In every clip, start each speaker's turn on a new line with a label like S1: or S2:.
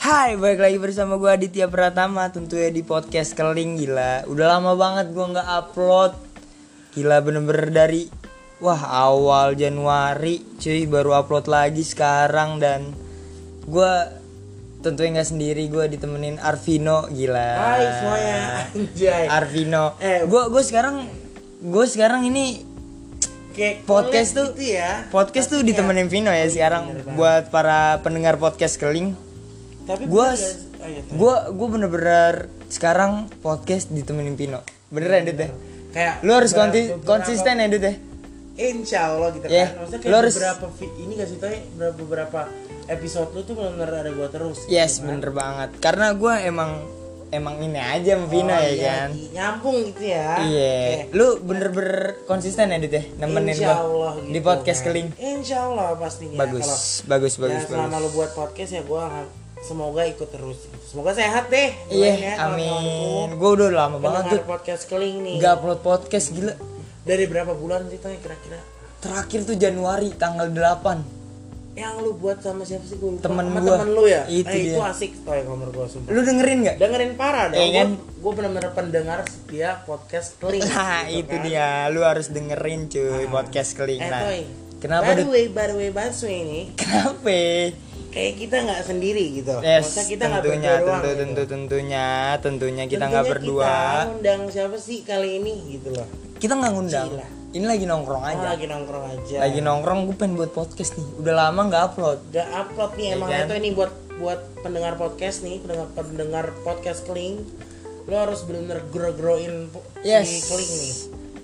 S1: Hai, balik lagi bersama gue Aditya Pratama Tentunya di podcast Keling, gila Udah lama banget gue nggak upload Gila bener-bener dari Wah awal Januari cuy baru upload lagi sekarang Dan gue tentunya nggak sendiri Gue ditemenin Arvino gila
S2: Hai semuanya Anjay
S1: Arvino
S2: Eh.
S1: Gue gue sekarang Gue sekarang ini
S2: Kayak
S1: podcast
S2: collab
S1: tuh
S2: gitu ya
S1: Podcast tuh
S2: Maksudnya.
S1: ditemenin Vino
S2: Oh, iya,
S1: ya sekarang Buat para pendengar podcast Keling
S2: Tapi
S1: gua
S2: bener
S1: s-
S2: gak- oh, iya, tuh.
S1: gue gue bener-bener sekarang podcast ditemenin Pino beneran Dut ya
S2: Kayak
S1: lu harus
S2: beberapa-
S1: konti-
S2: beberapa-
S1: konsisten ya Dut ya
S2: Insya Allah gitu
S1: Yeah.
S2: kan Maksudnya
S1: Lu
S2: kayak
S1: harus-
S2: beberapa vi- Ini gak sih tau beberapa, beberapa episode lu tuh bener-bener ada gua terus gitu
S1: yes
S2: kan.
S1: bener banget karena gue emang emang ini aja sama Pino
S2: Oh,
S1: ya
S2: iya,
S1: kan
S2: i- Nyambung gitu ya
S1: iya
S2: Kayak,
S1: lu bener-bener konsisten ya Dut ya nemenin
S2: Insya
S1: gue
S2: Allah gitu
S1: di podcast
S2: kan.
S1: keling
S2: Insya Allah pastinya
S1: bagus
S2: Kalau-
S1: bagus
S2: Ya,
S1: bagus
S2: selama
S1: bagus
S2: lu buat podcast ya gua alham- Semoga ikut terus Semoga sehat deh doain ya
S1: iya
S2: kawan-kawanku.
S1: amin gue udah lama banget
S2: Pendengar
S1: tuh
S2: podcast keling nih
S1: gak upload podcast gila
S2: Dari berapa bulan sih Toy, kira-kira
S1: terakhir tuh Januari tanggal 8
S2: yang lu buat sama siapa sih gue lupa
S1: Temen
S2: sama
S1: gua.
S2: temen lu ya
S1: Itu
S2: eh, itu
S1: dia.
S2: asik toy kamar gua sumpah
S1: lu dengerin nggak
S2: dengerin parah dong
S1: Iya kan?
S2: gue bener-bener pendengar setia podcast kling
S1: Nah
S2: gitu
S1: itu
S2: kan.
S1: dia, lu harus dengerin cuy podcast keling.
S2: eh
S1: Nah,
S2: toy
S1: kenapa
S2: by the
S1: Dut?
S2: way by the way Bansu ini
S1: Kenapa?
S2: kayak kita nggak sendiri gitu
S1: Yes,
S2: Maksudnya kita nggak
S1: tentunya,
S2: berdua doang
S1: tentu,
S2: gitu.
S1: tentu, tentunya, tentunya kita
S2: Tentunya
S1: nggak berdua.
S2: kita undang siapa sih kali ini gitu loh
S1: Kita nggak ngundang.
S2: Gila.
S1: Ini lagi nongkrong
S2: Oh,
S1: aja.
S2: lagi nongkrong aja
S1: Lagi nongkrong, gue pengen buat podcast nih. Udah lama nggak upload.
S2: udah upload nih emang
S1: kan?
S2: itu ini buat buat pendengar podcast nih pendengar pendengar podcast kling lo harus bener-bener grow-growin po-
S1: Yes.
S2: si kling nih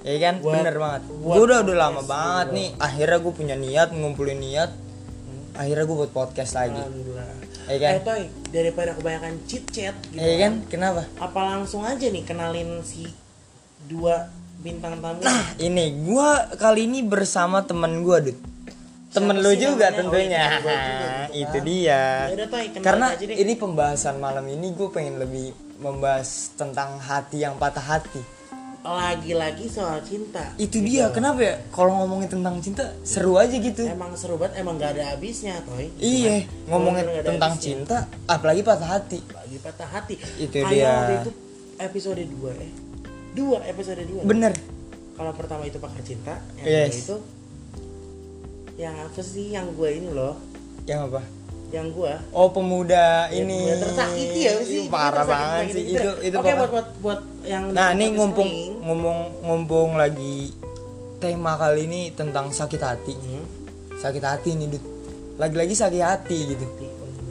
S1: Iya kan,
S2: Buat-
S1: bener banget.
S2: buat
S1: Gue udah udah lama
S2: podcast
S1: banget nih. Akhirnya gue punya niat ngumpulin niat.
S2: Hmm.
S1: Akhirnya gue buat podcast lagi.
S2: Alhamdulillah.
S1: Iya kan?
S2: Eh Toy, daripada kebanyakan chit chat gitu.
S1: Iya kan, kenapa?
S2: Apa langsung aja nih kenalin si dua bintang tamu.
S1: Nah, ini gua kali ini bersama temen gua, Dut. Temen
S2: Siapa
S1: lu
S2: sih
S1: juga
S2: namanya?
S1: tentunya.
S2: Oh, iya, temen gua juga, gitu
S1: itu
S2: kan.
S1: dia.
S2: Ya udah, Toy, kenalin
S1: Karena
S2: aja deh.
S1: ini pembahasan malam ini gue pengen lebih membahas tentang hati yang patah hati.
S2: Lagi-lagi soal cinta.
S1: Itu dia. Kenapa ya? Kalau ngomongin tentang cinta seru aja gitu.
S2: Emang seru banget, emang gak ada habisnya, Toy. Gitu kan?
S1: Iya, ngomongin
S2: Bener-bener gak ada
S1: tentang
S2: habisnya.
S1: cinta apalagi patah hati.
S2: Lagi patah hati.
S1: Itu
S2: Kayak
S1: dia.
S2: waktu itu episode 2 eh. Dua episode 2.
S1: Bener.
S2: Kalau pertama itu pakar cinta, yang
S1: Yes.
S2: kedua itu yang apa sih yang gue ini loh,
S1: Yang apa?
S2: yang gue
S1: Oh, pemuda ini.
S2: Ya, tersakiti ya sih
S1: Parah
S2: Tersakiti,
S1: banget sih
S2: tersakiti.
S1: itu itu
S2: oke
S1: parah.
S2: buat buat buat yang
S1: Nah,
S2: di
S1: ini
S2: podcast
S1: ngumpung
S2: kuning.
S1: ngomong ngumpung lagi tema kali ini tentang sakit hati.
S2: Hmm.
S1: Sakit hati nih, Dut. Lagi-lagi sakit hati gitu.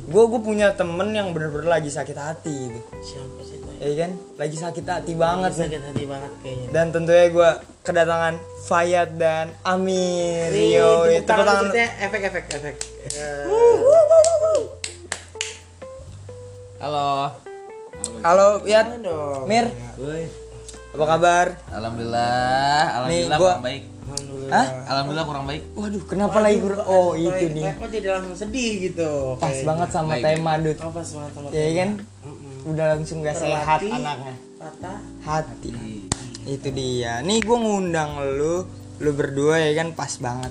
S1: Gue gue punya temen yang bener-bener lagi sakit hati gitu.
S2: siapa sih Toy?
S1: Ya kan? Lagi sakit hati banget nih.
S2: sakit hati banget kayaknya
S1: Dan tentunya gue kedatangan Fayad dan Amir.
S2: Ini
S1: Yo,
S2: tepuk
S1: tepuk tangan. ya.
S2: maksudnya efek efek efek Eh,
S3: Halo.
S1: Halo, Fayad.
S2: jangan dong
S1: Mir, apa kabar?
S3: Alhamdulillah, alhamdulillah
S1: Nih, gua-
S3: kurang baik.
S2: alhamdulillah
S1: Hah?
S3: Alhamdulillah kurang baik.
S1: Waduh, kenapa lagi ber- Oh,
S2: Toy,
S1: itu nih.
S2: Toy, kok jadi langsung sedih gitu
S1: Pas
S2: Kayaknya.
S1: banget sama
S3: Baik.
S1: tema, Dut.
S2: oh pas banget sama
S1: Ya kan?
S2: Mm-mm.
S1: Udah langsung gak sehat
S2: Terlatih,
S1: anaknya.
S2: patah
S1: hati itu dia nih gue ngundang lu lu berdua ya kan pas banget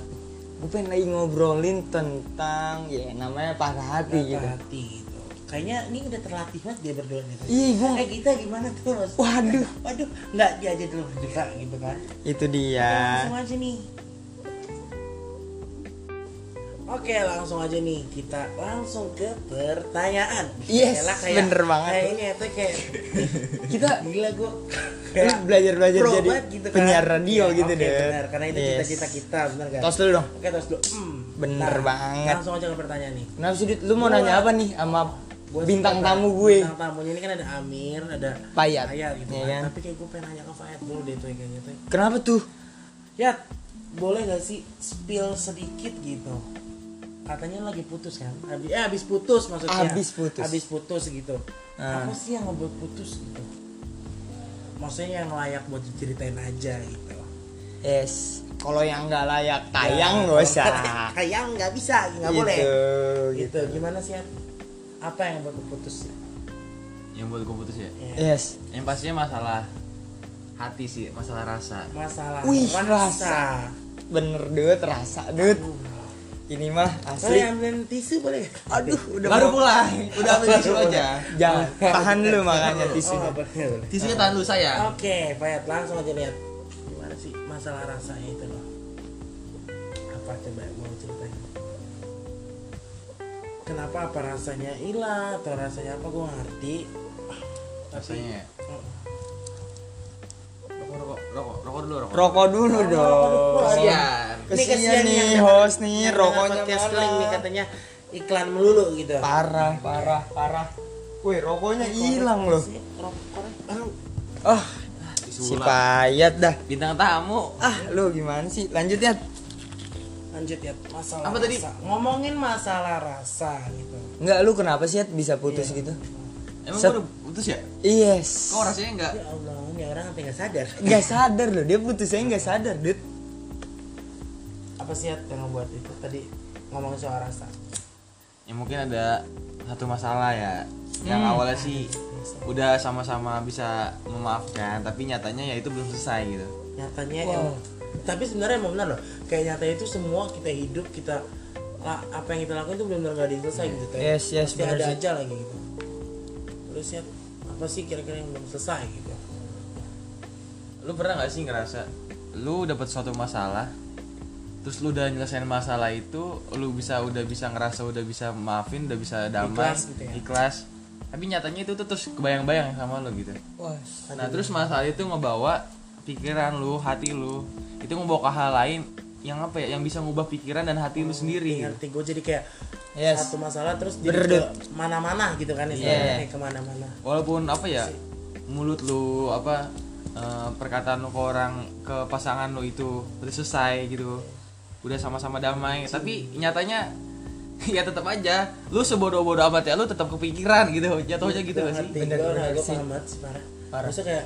S1: gue pengen lagi ngobrolin tentang ya namanya patah hati
S2: patah
S1: gitu
S2: hati gitu kayaknya ini udah terlatih banget dia berdua nih Toy.
S1: iya gue
S2: Eh kita gimana tuh mas?
S1: Waduh.
S2: Waduh, nggak dia aja dulu berdua gitu kan?
S1: itu dia
S2: Langsung aja nih. Oke langsung aja nih kita langsung ke pertanyaan.
S1: Yes,
S2: Yalah,
S1: bener banget.
S2: Kayak ini atau kayak
S1: kita
S2: gila gue.
S1: lu belajar-belajar
S2: pro
S1: jadi
S2: banget gitu kan.
S1: penyiar radio
S2: Iya,
S1: gitu
S2: oke,
S1: deh.
S2: Bener, karena itu
S1: Yes.
S2: cita-cita kita bener kan.
S1: tos dulu dong
S2: Oke tos dulu. Hmm.
S1: Bener banget.
S2: Langsung aja ke pertanyaan nih.
S1: kenapa sih Dit? lu mau
S2: Gua-
S1: nanya apa nih sama
S2: Gua
S1: bintang
S2: suka
S1: tamu gue
S2: Bintang tamunya ini kan ada Amir, ada
S1: Payat.
S2: gitu
S1: Iya
S2: kan.
S1: kan?
S2: Tapi kayak gue pengen nanya ke Fayat dulu deh tuh gitu. kayaknya tuh.
S1: kenapa tuh
S2: Ya, boleh gak sih spill sedikit gitu? Katanya lagi putus kan? Abis, eh abis putus maksudnya.
S1: Abis putus.
S2: Abis putus gitu.
S1: Ah.
S2: Apa sih yang ngebuat putus gitu? Maksudnya yang layak buat diceritain aja gitu.
S1: yes kalau yang nggak layak tayang gak usah
S2: Tayang nggak bisa, Ya, nggak
S1: Gitu,
S2: boleh.
S1: gitu.
S2: Gitu. Gimana sih? Yan? Apa yang buat lu putus?
S3: Yang buat gue putus ya.
S2: Ya,
S1: yes
S3: Yang pastinya masalah hati sih, masalah rasa.
S2: Masalah
S1: Wih,
S2: rasa.
S1: rasa. bener dut rasa dut ini
S2: Oh,
S1: mah
S2: Boleh
S1: asli
S2: ambil tisu boleh nggak?
S1: aduh udah
S3: Baru
S1: mau-
S3: pulang, udah ambil tisu aja.
S1: jangan tahan lu makanya
S2: Oh,
S1: tisunya
S2: boleh, boleh.
S3: Tisunya tahan dulu saya.
S2: Oke, Fayat langsung aja lihat. Gimana sih masalah rasanya itu loh? Apa coba mau ceritain? Kenapa apa rasanya hilang atau rasanya apa gue ngerti.
S3: Rasanya ya.
S2: Oh,
S3: Rokok, rokok, rokok, rokok dulu, rokok.
S1: rokok dulu dong
S3: Kesian.
S1: kesian nih
S2: yang
S1: host
S2: dengar-
S1: nih
S2: yang dengar
S1: rokoknya
S2: podcast
S1: malah.
S2: Kling nih katanya iklan melulu gitu.
S1: parah parah parah woi rokoknya hilang loh
S2: Sih, rokoknya. Aduh,
S1: ah
S3: Tisu
S1: si
S3: ulang.
S1: payat dah
S3: Bintang tamu.
S1: ah lu gimana sih lanjut ya
S2: lanjut ya masalah
S3: Apa tadi?
S2: rasa. ngomongin masalah rasa gitu
S1: Enggak lu kenapa sih Yat, bisa putus gitu
S3: Emang
S1: Set.
S3: baru putus ya?
S1: yes
S3: Kok rasanya enggak?
S2: ya Allah ini orang sampai nggak sadar
S1: nggak sadar loh dia putusnya nggak sadar dud
S2: apa sih Yat, yang membuat itu tadi ngomongin soal rasa
S3: Ya mungkin ada satu masalah ya. Yang awalnya sih udah sama-sama bisa memaafkan, tapi nyatanya ya itu belum selesai gitu.
S2: nyatanya
S1: Wow.
S2: emang- tapi sebenarnya emang benar loh kayak nyatanya itu semua kita hidup kita la- apa yang kita lakukan itu benar-benar nggak ada yang selesai gitu Teh.
S1: Yes, yes,
S2: Pasti
S1: benar
S2: ada
S1: sih.
S2: aja lagi gitu terus ya apa sih kira-kira yang belum selesai gitu
S3: lu pernah nggak sih ngerasa lu dapat suatu masalah terus lu udah nyelesain masalah itu lu bisa udah bisa ngerasa udah bisa maafin udah bisa damai
S2: Ikhlas gitu ya.
S3: ikhlas. tapi nyatanya itu tuh terus kebayang-bayang sama lu gitu
S1: wah
S3: nah terus masalah itu ngebawa pikiran lu hati lu itu ngebawa ke hal lain yang apa ya yang bisa ngubah pikiran dan hati
S2: Oh,
S3: lu sendiri gitu.
S2: ngerti gue jadi kayak
S1: Yes.
S2: satu masalah terus jadi
S1: Berdut. Iya.
S2: ke mana-mana gitu kan istilahnya kayak kemana-mana
S3: walaupun apa ya mulut lu apa eh, perkataan lu ke orang ke pasangan lu itu udah selesai gitu udah sama-sama damai tapi nyatanya ya tetap aja lu sebodoh-bodoh amat ya lu tetap kepikiran gitu jatuhnya gitu
S2: Gua
S3: gak sih
S2: ngerti,
S1: Bener,
S2: gua-
S1: bener
S2: gua
S1: sih.
S2: paham banget sih, parah. Maksudnya kayak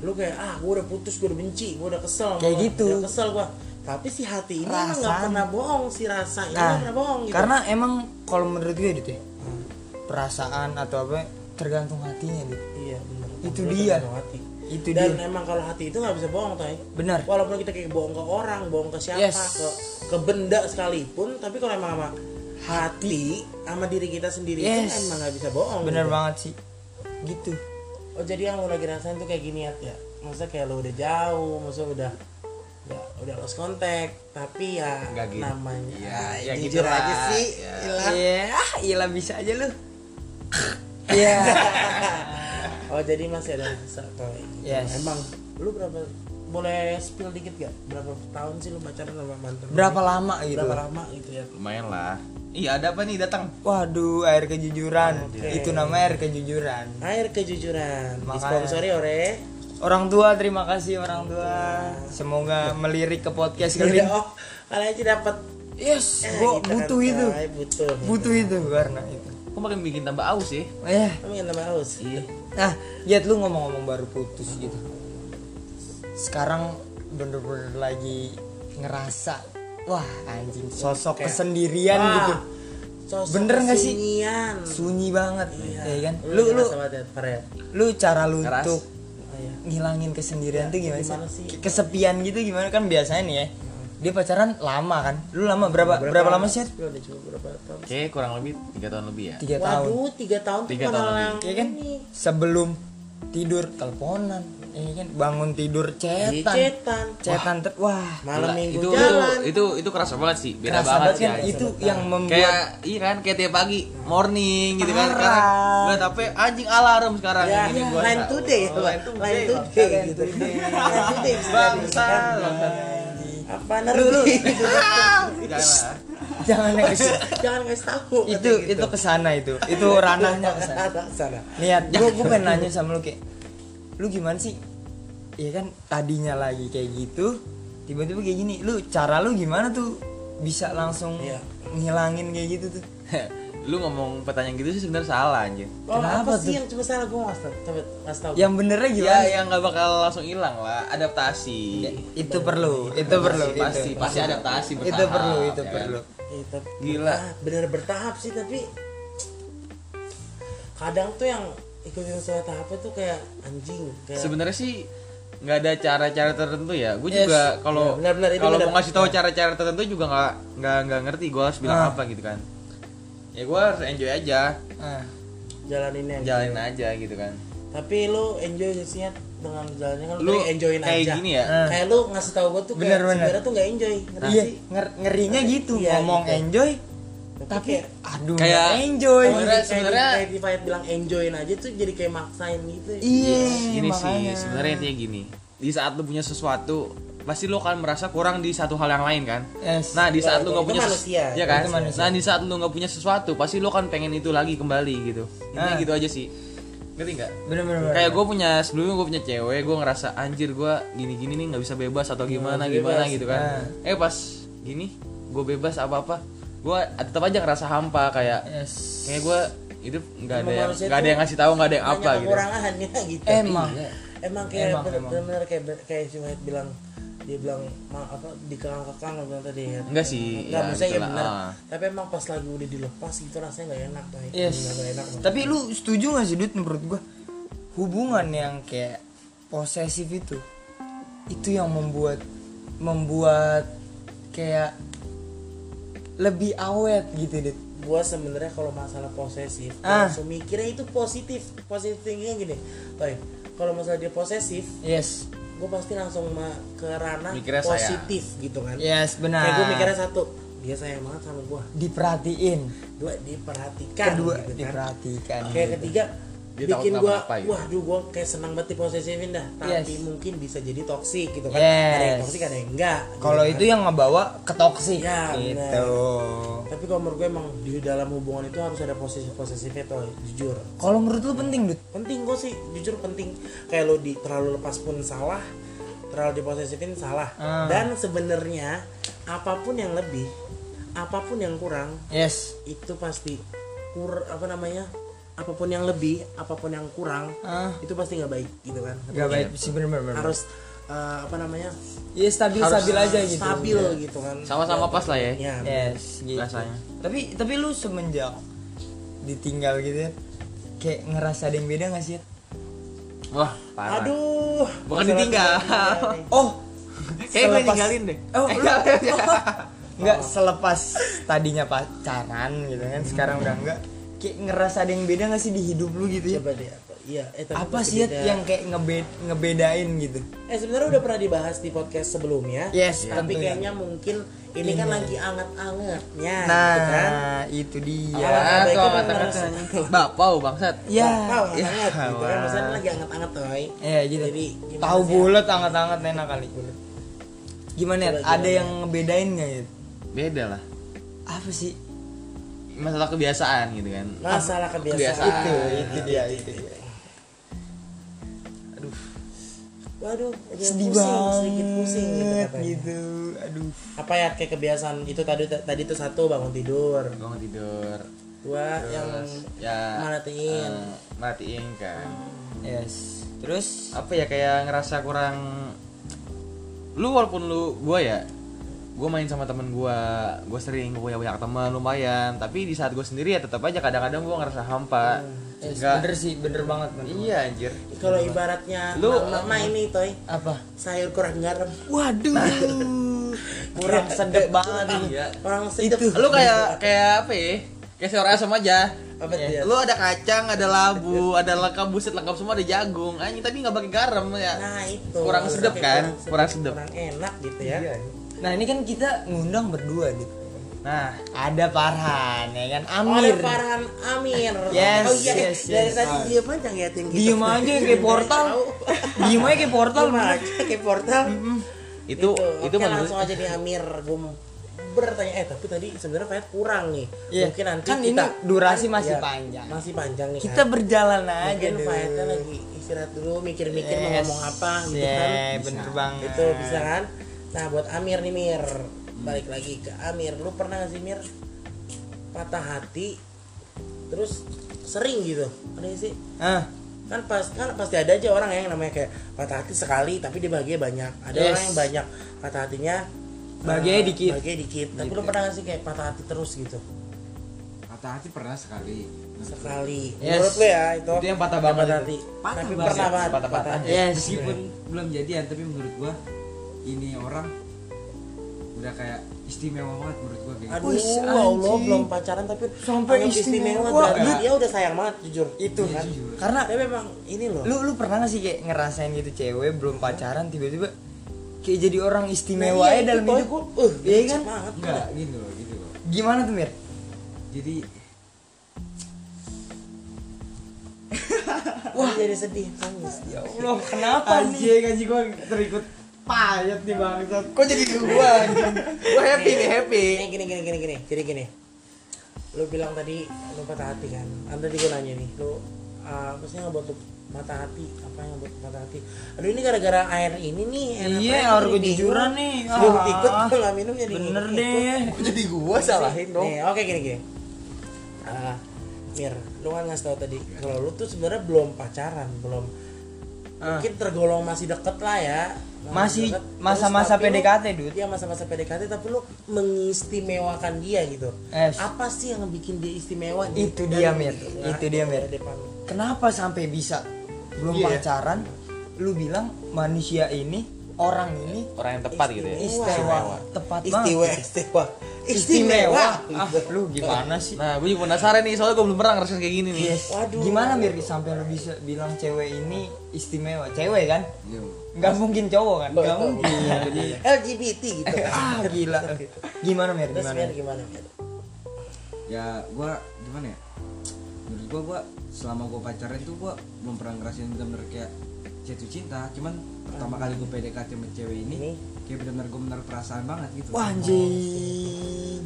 S2: lu kayak ah gue udah putus gue udah benci gue udah kesel sama
S1: Kayak
S2: lu,
S1: gitu.
S2: udah kesel gue tapi si hati ini emang nggak
S1: Perasaan.
S2: pernah bohong si rasa ini nggak
S1: nah
S2: pernah bohong gitu
S1: karena emang kalau menurut gue Dut ya perasaan atau apa tergantung hatinya Dut
S2: iya bener
S1: Itu
S2: Menurut
S1: dia.
S2: gua hati.
S1: itu
S2: dan
S1: dia
S2: emang kalau hati itu nggak bisa bohong tay
S1: benar
S2: walaupun kita kayak bohong ke orang bohong ke siapa
S1: Yes.
S2: ke ke benda sekalipun tapi kalau emang sama hati sama diri kita sendiri
S1: Yes.
S2: itu emang nggak bisa bohong
S1: benar
S2: gitu.
S1: banget sih gitu
S2: Oh jadi yang lo lagi rasain tuh kayak gini ya? ya? Maksudnya kayak lo udah jauh, maksudnya udah udah, udah lost contact, tapi ya
S3: Nggak gitu.
S2: namanya
S3: Ya, ya
S2: jujur
S3: gitu
S2: aja
S3: lah.
S2: sih,
S3: Ya.
S2: ilah.
S1: iya ilah bisa aja lu iya
S2: Oh jadi masih ada rasa kayak gitu.
S1: Yes.
S2: Emang lu berapa boleh spill dikit gak? Berapa tahun sih lu pacaran sama mantan? lu?
S1: berapa lama gitu
S2: Berapa lama gitu ya?
S3: lumayan lah iya ada apa nih datang
S1: waduh air kejujuran itu namanya air kejujuran
S2: Air kejujuran,
S1: Makanya.
S2: disponsori oleh
S1: Orang tua terima kasih orang tua. Semoga melirik ke podcast kali ini.
S2: Oh, kalian aja dapat.
S1: Iya. Yes,
S2: Eh,
S1: gua
S2: gitu kan,
S1: butuh itu.
S2: coy, butuh.
S1: Butuh itu karena itu.
S3: kok makin bikin tambah aus ya
S1: Oh, ya.
S2: Kamu yang tambah haus.
S3: iya
S1: Nah, Jet lu ngomong-ngomong baru putus gitu. Sekarang bener-bener lagi ngerasa wah anjing sosok ya. kesendirian
S2: Wah,
S1: gitu.
S2: Sosok
S1: Bener nggak sih?
S2: kesunyian.
S1: Sunyi banget ya kan?
S2: Lu
S1: Lu lu
S2: lu sama Ted Fred.
S1: lu cara lu
S3: Keras.
S1: untuk
S2: Oh, iya.
S1: ngilangin kesendirian tuh gimana,
S2: gimana
S1: sih?
S2: sih?
S1: Ke- Kesepian gitu gimana kan biasanya nih ya. Dia pacaran lama kan? Lu lama berapa berapa, lama sih? Yat?
S2: Lu udah coba berapa tahun?
S3: oke kurang lebih tiga tahun lebih ya
S1: Tiga tahun.
S2: Waduh, tiga tahun tuh
S3: Tiga
S2: bukan
S3: tahun
S2: orang
S1: Iya kan?
S2: ini.
S1: Sebelum tidur teleponan, iya kan? Bangun tidur cetan.
S2: Dicetan.
S1: Cetan ter- wah.
S2: Malam
S3: Gila,
S2: minggu
S3: itu,
S2: jalan.
S3: itu itu itu kerasa banget sih beda
S1: kerasa
S3: banget
S1: banget
S3: sih
S1: kan
S3: anjing.
S1: itu yang membuat
S3: kayak iya kan kayak tiap pagi morning gitu kan
S1: Parah.
S3: sekarang gue tapi anjing alarm sekarang
S2: Ya,
S3: ini gua
S2: line
S3: tahu.
S2: today,
S3: Oh, line today
S2: line today,
S1: Bang.
S2: gitu.
S1: Line today.
S2: Line today,
S3: bangsa
S2: Ya, Apa nervi?
S3: Jangan lah.
S1: jangan yang ke situ.
S2: Jangan ngasih tahu.
S1: itu itu kesana itu itu ranahnya kesana
S2: Atas sana.
S1: lihat gue gue pengen nanya sama lu kayak lu gimana sih Iya kan tadinya lagi kayak gitu tiba-tiba kayak gini lu cara lu gimana tuh bisa langsung
S2: Iya.
S1: ngilangin kayak gitu tuh
S3: lu ngomong pertanyaan gitu sih sebenarnya salah anjing
S2: Oh,
S1: Kenapa
S2: apa
S1: tuh?
S2: sih yang cuma salah gua ngasih tahu? Coba ngasih tahu.
S1: yang benernya gimana
S3: ya yang nggak bakal langsung hilang lah
S2: Ya,
S3: adaptasi
S1: itu perlu itu perlu
S3: pasti pasti,
S1: itu.
S3: pasti adaptasi bertahap
S1: itu perlu itu
S3: ya kan?
S1: perlu
S2: Itu
S3: Gila.
S2: ah, bener bertahap sih tapi kadang tuh yang ikutin suatu tahap itu kayak anjing kayak
S3: sebenarnya sih nggak ada cara-cara tertentu ya gue
S2: Yes.
S3: juga kalau
S2: Ya, benar-benar, itu
S3: kalau
S2: benar.
S3: mau ngasih tahu cara-cara tertentu juga nggak nggak nggak ngerti gue harus bilang
S2: Ah.
S3: apa gitu kan ya gue harus enjoy aja
S1: Ah.
S2: jalaninnya
S3: jalanin aja gitu kan
S2: tapi lu enjoy gak sih Nyat? dengan jalannya kan lu
S3: Lu
S2: tadi enjoyin
S3: kayak
S2: aja
S3: gini ya?
S2: kayak lu ngasih tahu gua tuh
S1: Bener,
S2: kayak
S1: bener.
S2: sebenarnya tuh nggak enjoy
S3: Nah,
S2: ngerti
S1: Iya,
S2: sih
S1: nger- ngerinya gitu
S2: Iya,
S1: ngomong
S2: gitu.
S1: enjoy
S2: Tapi
S1: tapi
S2: kayak-
S1: aduh
S3: Kayak-
S1: nggak enjoy.
S2: Kalau
S3: Sebenarnya-
S2: kayak-
S3: sebenarnya-
S2: kayak di Fayet bilang enjoyin aja tuh jadi kayak maksain gitu
S1: Iya,
S3: gini
S1: makanya.
S3: sih sebenarnya intinya gini di saat lu punya sesuatu pasti lu akan merasa kurang di satu hal yang lain kan
S1: Yes.
S3: nah di saat
S2: Iya, iya,
S3: lu nggak
S2: itu
S3: punya
S2: manusia,
S3: ya kan
S1: itu manusia.
S3: nah di saat lu nggak punya sesuatu pasti lu akan pengen itu lagi kembali gitu
S1: Ah.
S3: intinya gitu aja sih ngerti nggak
S1: Bener-bener.
S3: kayak gue punya sebelumnya gue punya cewek gue ngerasa anjir gue gini gini nih nggak bisa bebas atau gimana
S2: Iya, bebas. Ah.
S3: gimana gitu kan eh pas gini gue bebas apa apa gue tetap aja ngerasa hampa kayak
S1: Yes.
S3: kayak gue hidup nggak ada
S2: Emang
S3: yang
S2: manusia
S3: nggak ada
S2: tuh
S3: yang ngasih tahu nggak ada yang
S2: Banyak
S3: apa gitu
S2: kekurangannya gitu
S1: Emang.
S2: Iya. emang kayak
S1: Emang,
S2: bener-
S1: emang.
S2: bener-bener kayak kayak si Fayet bilang dia bilang "Ma, apa dikekang-kekang lo bilang tadi ya
S3: Enggak sih,
S2: enggak
S3: ya,
S2: maksudnya ya
S3: gitulah,
S2: bener
S3: ah.
S2: tapi emang pas lagi udah dilepas gitu rasanya nggak enak tuh
S1: Yes.
S2: nggak enak banget.
S1: Tapi lu setuju gak sih Dut menurut gua hubungan yang kayak posesif itu itu yang membuat membuat kayak lebih awet gitu Dut.
S2: gua sebenarnya kalau masalah posesif
S1: Ah.
S2: langsung mikirnya itu positif positif thinkingnya gini Toy kalau masalah dia posesif
S1: Yes.
S2: gue pasti langsung ma- ke ranah
S3: Mikirnya sayang.
S2: positif gitu kan
S1: Yes, benar.
S2: kayak gue mikirnya satu dia sayang banget sama gue
S1: diperhatiin.
S2: dua diperhatikan
S1: Kedua
S2: gitu kan.
S1: diperhatikan. gitu.
S2: kayak ketiga
S3: Dia
S2: bikin
S3: takut
S2: gue
S3: kenapa-napa gitu.
S2: wah duh gue kayak senang banget diposesifin dah tapi
S1: Yes.
S2: mungkin bisa jadi toksik gitu kan
S1: Yes.
S2: ada yang toksik ada yang enggak gitu
S1: Kalau
S2: kan.
S1: itu ya- yang ngebawa ke toksik
S2: Ya,
S1: gitu.
S2: benar. tapi kalau menurut gue emang di dalam hubungan itu harus ada posesif posesifnya tuh jujur
S1: Kalau menurut lu penting Dut?
S2: penting gue sih jujur penting kayak lo di terlalu lepas pun salah terlalu diposesifin salah
S1: Hmm.
S2: dan sebenarnya apapun yang lebih apapun yang kurang
S1: Yes.
S2: itu pasti kur apa namanya apapun yang lebih apapun yang kurang
S1: Ah.
S2: itu pasti nggak baik gitu kan
S1: Gak baik Iya, sih bener-bener.
S2: harus eh, apa namanya
S1: Iya stabil stabil aja gitu.
S2: stabil gitu kan
S3: sama-sama pas lah ya
S2: ya
S1: Yes, gitu.
S3: Rasanya.
S1: Tapi tapi lu semenjak ditinggal gitu ya, kayak ngerasa ada yang beda gak sih? Yat?
S3: wah parah
S2: aduh
S3: bukan
S2: masalah ya,
S3: ditinggal
S2: tinggal.
S1: Oh,
S3: kayak gue
S1: Selepas-
S3: ninggalin deh
S1: Oh,
S3: Eh,
S1: lu-
S3: enggak, enggak.
S1: nggak selepas tadinya pacaran gitu kan, sekarang udah enggak. Kayak ngerasa ada yang beda gak sih di hidup lu gitu ya?
S2: coba deh apa iya eh, tapi
S1: Apa
S2: pasti
S1: sih Yat,
S2: beda.
S1: yang kayak ngebe- ngebedain gitu?
S2: eh sebenarnya udah pernah dibahas di podcast sebelumnya
S1: Yes,
S2: tapi
S1: tentunya. Iya.
S2: kayaknya mungkin ini kan lagi anget-angetnya
S1: Nah,
S2: gitu kan
S1: itu
S3: ya
S1: dia.
S2: Apa? Baiknya
S3: tuh
S2: bener.
S3: kata-katanya bapau bangsat
S1: Ya.
S2: Wow, anget
S3: Ya,
S2: gitu kan
S3: wah.
S2: maksudnya lagi anget-anget toy
S1: Ya gitu.
S2: Jadi, gimana
S1: Tahu
S2: sih, Yat?
S1: bulat anget-anget enak kali. Gimana ya?
S2: Coba, gimana,
S1: Ada yang ngebedain gak ya?
S3: beda lah
S1: Apa sih?
S3: masalah kebiasaan gitu kan
S2: masalah kebiasaan
S3: Kebiasaan.
S1: Itu, itu dia, itu dia.
S3: aduh
S2: waduh agak
S1: sedih
S2: pusing,
S1: banget
S2: sedikit pusing gitu katanya.
S1: gitu aduh
S2: apa ya kayak kebiasaan itu tadi tadi itu satu bangun tidur
S3: gue mau tidur
S2: dua yang
S3: terus ya
S2: merhatiin.
S3: eh, merhatiin kan
S1: yes terus
S3: apa ya kayak ngerasa kurang lu walaupun lu gua ya gue main sama temen gua gue sering gue punya banyak teman lumayan tapi di saat gue sendiri ya tetap aja kadang-kadang gue ngerasa hampa
S2: Hmm, iya
S1: yes,
S3: Nggak-
S1: bener sih bener banget bener.
S3: iya anjir
S2: kalau ibaratnya
S3: Lu-
S2: mama ini toy
S1: apa
S2: sayur kurang garam
S1: waduh kurang sedep banget nih
S3: iya
S2: orang sedap
S3: lu kayak kayak apa ya kayak sayur asam aja
S2: apa tuh ya?
S3: lu ada kacang ada labu ada lengkap buset lengkap semua ada jagung anjing tapi nggak pakai garam ya
S2: nah itu
S3: Kurang sedep
S2: Kayak
S3: kan?
S2: kurang,
S3: Kurang
S2: sedep,
S3: sedep.
S2: kurang enak gitu ya
S1: nah ini kan kita ngundang berdua nih
S3: nah
S1: ada Farhan ya kan
S2: oleh
S1: Amir
S2: Farhan Amir
S1: Yes,
S2: oh iya
S1: yes,
S2: dari
S1: yes.
S2: tadi diem aja ngeliatin gitu. kita
S1: diem aja kayak portal diem aja kayak portal
S2: portal
S1: bener.
S2: aja kayak portal
S3: itu
S2: Oke,
S3: itu menurut
S2: langsung aja di Amir gue bertanya eh tapi tadi sebenarnya Fayet kurang nih
S1: Iya.
S2: mungkin nanti
S1: Kan
S2: kita iya,
S1: ini durasi masih panjang.
S2: masih panjang nih
S1: kita
S2: kan.
S1: berjalan aja
S2: mungkin
S1: dulu.
S2: Fayetnya lagi istirahat dulu mikir-mikir mau
S1: Yes,
S2: ngomong apa gitu
S1: yeah,
S2: kan
S1: bener
S2: Bisa.
S1: banget.
S2: itu bisa kan nah buat Amir nih Mir balik lagi ke Amir lu pernah gak sih Mir patah hati terus sering gitu ada nggak sih
S1: ah
S2: kan pas kan pasti ada aja orang yang namanya kayak patah hati sekali tapi dia bahagia banyak ada
S1: Yes.
S2: orang yang banyak patah hatinya
S1: Bahagianya
S2: eh,
S1: dikit.
S2: bahagianya dikit tapi lu pernah gak sih kayak patah hati terus gitu
S4: patah hati pernah sekali
S2: sekali
S3: Yes.
S2: menurut lo ya itu
S3: Itu yang patah banget
S2: patah
S3: itu.
S2: hati
S4: Patah ya.
S2: tapi
S4: banget.
S2: pernah banget
S3: Patah-patah.
S2: patah.
S1: Yes,
S4: Iya, meskipun belum jadian tapi menurut gua ini orang udah kayak istimewa banget menurut gua kayak
S2: aduh
S1: Wih,
S2: ya Allah
S1: anjing.
S2: belum pacaran tapi
S1: Sampai
S2: anggap
S1: istimewa.
S2: berarti
S4: Iya.
S2: dia udah sayang banget jujur
S1: itu
S4: Iya,
S1: kan
S4: jujur.
S1: karena
S2: tapi memang ini loh Nah,
S1: lu lu pernah gak sih kayak ngerasain gitu cewek belum pacaran tiba-tiba kayak jadi orang istimewa
S2: Nah, iya,
S1: aja
S2: itu
S1: dalam
S2: boy,
S1: hidup
S2: gua, uh,
S1: Iya kan?
S2: cocok banget.
S4: enggak gitu loh gitu loh
S1: gimana tuh mir
S4: jadi
S2: wah jadi sedih nangis
S1: ya allah kenapa nih
S4: gaji gua terikut payet nih bangsat
S1: kok jadi gua
S3: Gue happy nih happy.
S2: Eh, gini gini gini gini jadi gini lu bilang tadi lu patah hati kan anda tadi gua nanya nih lu uh, apa sih yang buat lu mata hati apa yang buat lu mata hati aduh ini gara-gara air ini nih
S1: Iya, air kejujuran nih.
S2: sebelum
S1: Ah.
S2: ikut gua nggak minum jadi
S1: bener deh
S3: Kok jadi gua salahin dong?
S2: Nih, oke gini gini. Ah, Mir, lu kan ngasih tau tadi kalau lu tuh sebenarnya belum pacaran, belum
S1: Ah.
S2: mungkin tergolong masih deket lah ya.
S1: Masih
S2: deket. Terus
S1: masa-masa
S2: tapi lu-
S1: PDKT, Dut.
S2: Iya masa-masa PDKT tapi lu mengistimewakan dia gitu.
S1: Yes.
S2: Apa sih yang bikin dia istimewa?
S1: Itu
S2: Dan-
S1: dia, Mir.
S2: Nah,
S1: Itu dia, Mir.
S2: depan lu.
S1: kenapa sampai bisa belum pacaran lu bilang manusia ini orang ini
S3: Orang yang tepat gitu ya.
S2: Istimewa.
S1: istimewa tepat
S2: Istimewa,
S1: banget
S2: istimewa,
S1: istimewa
S2: istimewa.
S1: ah lu gimana sih
S3: Nah, gue juga penasaran nih soalnya gue belum pernah ngerasain kayak gini nih.
S1: Yes.
S2: Waduh.
S1: Gimana Mir sampai lu bisa bilang cewek ini istimewa? Cewek kan?
S4: Yo.
S1: Nggak mungkin cowok kan? Nggak mungkin. Jadi
S2: LGBT gitu.
S1: ah gila. Gimana Mir?
S2: Terus
S1: Gimana?
S2: Mir gimana? Mir?
S4: ya gua gimana ya menurut gua gua selama gua pacaran tuh gua belum pernah ngerasain bener kayak jatuh cinta cuman pertama kali gua PDKT sama cewek
S2: Ini?
S4: ini kayak bener-bener gua menaruh perasaan banget gitu
S1: Wah anjing.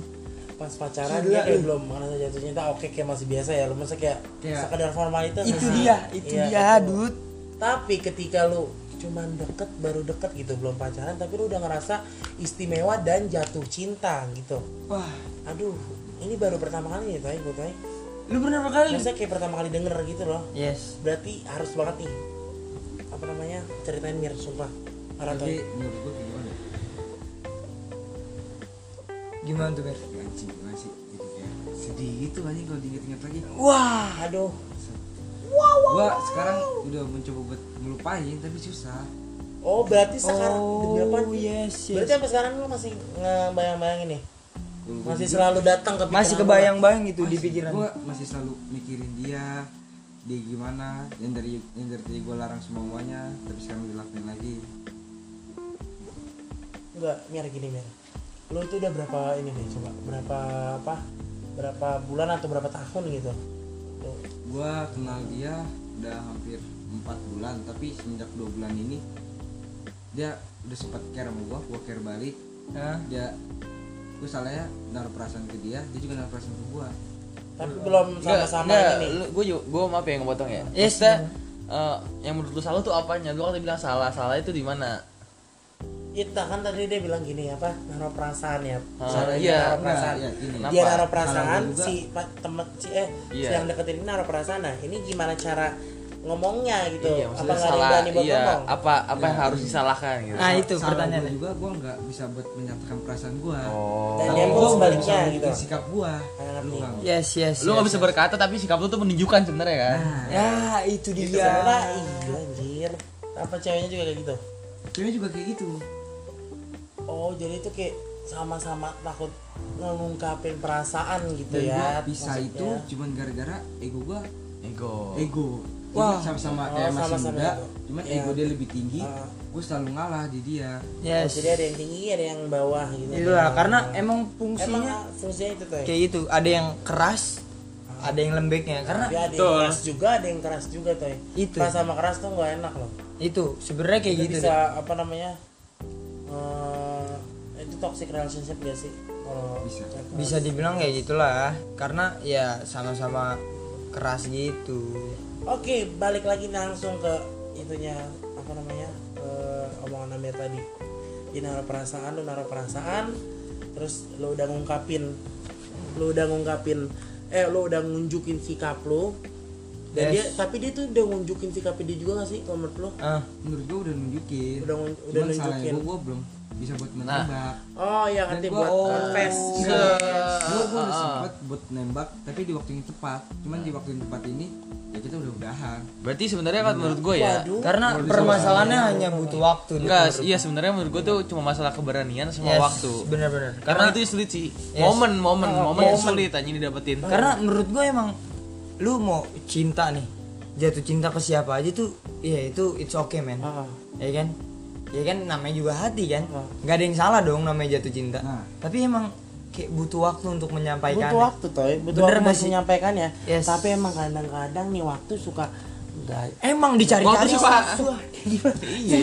S2: pas pacaran
S1: Gila,
S2: dia kayak
S1: lu.
S2: belum merasa jatuh cinta oke kayak masih biasa ya lu masa kayak,
S4: Kayak-
S2: sekadar formalitas
S1: Itu
S2: masih-
S1: dia, itu
S2: Iya,
S1: dia,
S2: itu.
S1: Dut.
S2: tapi ketika lu cuman deket baru deket gitu belum pacaran tapi lu udah ngerasa istimewa dan jatuh cinta gitu
S1: Wah,
S2: aduh ini baru pertama kali ya, nih tay gue tay
S1: lu bener berkali.
S2: biasanya kayak pertama kali denger gitu loh
S1: Yes.
S2: berarti harus banget nih apa namanya ceritain mir sumpah Parah,
S4: tapi
S2: Toy.
S4: menurut gua kayak gimana ya?
S1: Gimana tuh Mir?
S4: Ya, anjing gimana sih gitu kayak sedih gitu anjing kalau diinget-inget lagi
S1: Wah,
S2: aduh
S4: gua sekarang udah mencoba buat ngelupain tapi susah
S2: oh berarti sekarang
S1: Oh,
S2: demi apaan?
S1: yes, yes.
S2: berarti sampai sekarang lu masih ngebayang-bayangin nih
S4: Gua- gua
S2: masih
S4: jujur,
S2: selalu datang ke
S1: Iya. masih
S2: pikiran lu.
S1: kebayang-bayang gitu di
S4: masih-
S1: pikiran.
S4: gua masih selalu mikirin dia dia gimana yang dari yang dari tadi gua larang semuanya tapi sekarang dilakuin lagi
S2: Enggak, Mir gini Mir Lo itu udah berapa ini nih coba Berapa apa Berapa bulan atau berapa tahun gitu Lo,
S4: gua kenal dia udah hampir empat bulan tapi semenjak dua bulan ini dia udah sempat care sama gua gua care balik
S1: Hah?
S4: dia gua salahnya naruh perasaan ke dia dia juga naruh perasaan ke gua
S2: Tapi belum sama-sama ini nih
S3: gue juga, gue maaf ya ngepotong ya.
S1: Yes.
S3: Maksudnya, eh, yang menurut lu salah tuh apanya? Lu kan tadi bilang salah, salah itu di mana?
S2: Ita kan tadi dia bilang gini apa Naruh perasaan ya
S3: Ah,
S2: Salah dia
S3: iya,
S2: naruh perasaan
S4: iya, gini.
S2: Dia
S3: Kenapa?
S2: naruh perasaan
S4: Salah gua juga.
S2: Si pa, temen si eh
S3: Iya.
S2: Si yang deketin ini naruh perasaan Nah ini gimana cara ngomongnya gitu
S3: Iya,
S2: Apa
S3: maksudnya
S2: nggak ada yang
S3: salah.
S2: berani buat
S3: Iya,
S2: ngomong
S3: apa apa yang harus disalahkan gitu.
S1: Nah, itu
S4: Salah gua
S2: ya?
S1: pertanyaannya.
S4: juga gua nggak bisa buat menyatakan perasaan gua
S3: Oh.
S2: Dan
S4: Tapi
S2: dia pun
S4: gua udah
S2: sebaliknya
S4: bisa
S2: gitu
S4: bikin sikap gua
S2: Ngerti.
S4: lu nggak
S1: Yes, yes.
S3: Lu nggak
S1: yes,
S3: bisa
S1: yes.
S3: berkata tapi sikap lu tuh menunjukkan sebenarnya kan.
S4: nah
S1: Ya, itu dia.
S2: Gitu sebenarnya iya anjir Apa ceweknya juga kayak gitu
S4: cewek juga kayak gitu
S2: Oh, jadi itu kayak sama-sama takut ngungkapin perasaan gitu ya.
S4: dan gua bisa
S2: maksudnya. Nah,
S4: itu cuman gara-gara ego gua
S3: Ego.
S4: ego
S1: Wah.
S4: Wah, sama-sama
S2: Oh,
S4: kayak masih
S2: sama-sama
S4: muda,
S2: ego.
S4: cuman
S2: Iya.
S4: ego dia lebih tinggi.
S2: Ah.
S4: Gue selalu ngalah di dia.
S2: Oh,
S1: Yes.
S2: jadi ada yang tinggi, ada yang bawah gitu.
S1: Itulah karena
S2: emang
S1: emang fungsinya
S2: fungsinya itu tuh. ya?
S1: kayak gitu ada yang keras ada yang lembeknya karena
S2: Tapi ada yang
S3: Betul.
S2: keras juga, ada yang keras juga tuh. ya.
S1: Itu.
S2: Keras sama keras tuh nggak enak loh.
S1: itu sebenarnya kayak
S2: Itu
S1: gitu
S2: bisa apa namanya? eh, itu toxic relationship gak sih? Kalau
S4: Bisa.
S1: deh. bisa dibilang kayak gitulah karena ya sama-sama keras gitu
S2: Oke, balik lagi langsung ke itunya apa namanya ke omongan Amir tadi. Dia naruh perasaan, lu naruh perasaan, terus lu udah ngungkapin, lu udah ngungkapin, eh lu udah ngunjukin sikap lu. Dan dia,
S1: Yes.
S2: tapi dia tuh udah ngunjukin sikapnya dia juga gak sih, kalau menurut lu?
S1: ah
S4: Menurut gue udah nunjukin.
S2: Udah ngun- udah
S4: cuman salahnya
S2: nunjukin.
S4: gue, gue belum bisa buat menembak
S2: oh yang
S4: Dan
S2: nanti
S4: gua-
S2: buat
S4: oh,
S2: confess
S4: iya.
S3: Ah,
S4: Gua- gua udah
S3: ah, ah.
S4: sempet buat nembak tapi di waktu yang tepat cuman di waktu yang tepat ini ya kita udah udahan
S3: Berarti sebenarnya kan menurut gue ya.
S2: Waduh.
S1: Karena permasalahannya hanya butuh waktu.
S3: Enggak, iya sebenarnya menurut gue tuh cuma masalah keberanian sama waktu.
S1: Benar-benar.
S3: Karena
S1: Karena
S3: itu yang sulit sih.
S1: Yes.
S3: Momen, momen,
S2: Oh,
S3: momen yang
S1: momen.
S3: sulit anjing didapetin.
S1: karena menurut gue emang lu mau cinta nih jatuh cinta ke siapa aja tuh ya itu it's okay man
S2: Ah.
S1: ya kan ya kan namanya juga hati kan
S2: Ah.
S1: nggak ada yang salah dong namanya jatuh cinta
S4: Nah.
S1: tapi emang kayak butuh waktu untuk menyampaikan
S2: butuh waktu toy butuh
S1: Iya. Bener
S2: waktu
S1: nggak
S2: untuk
S1: sih?
S2: menyampaikannya
S1: Yes.
S2: tapi emang kadang-kadang nih waktu suka nggak
S1: emang dicari-cari Iya.
S3: Waktu sih, Pak.
S1: susah.
S3: Iya.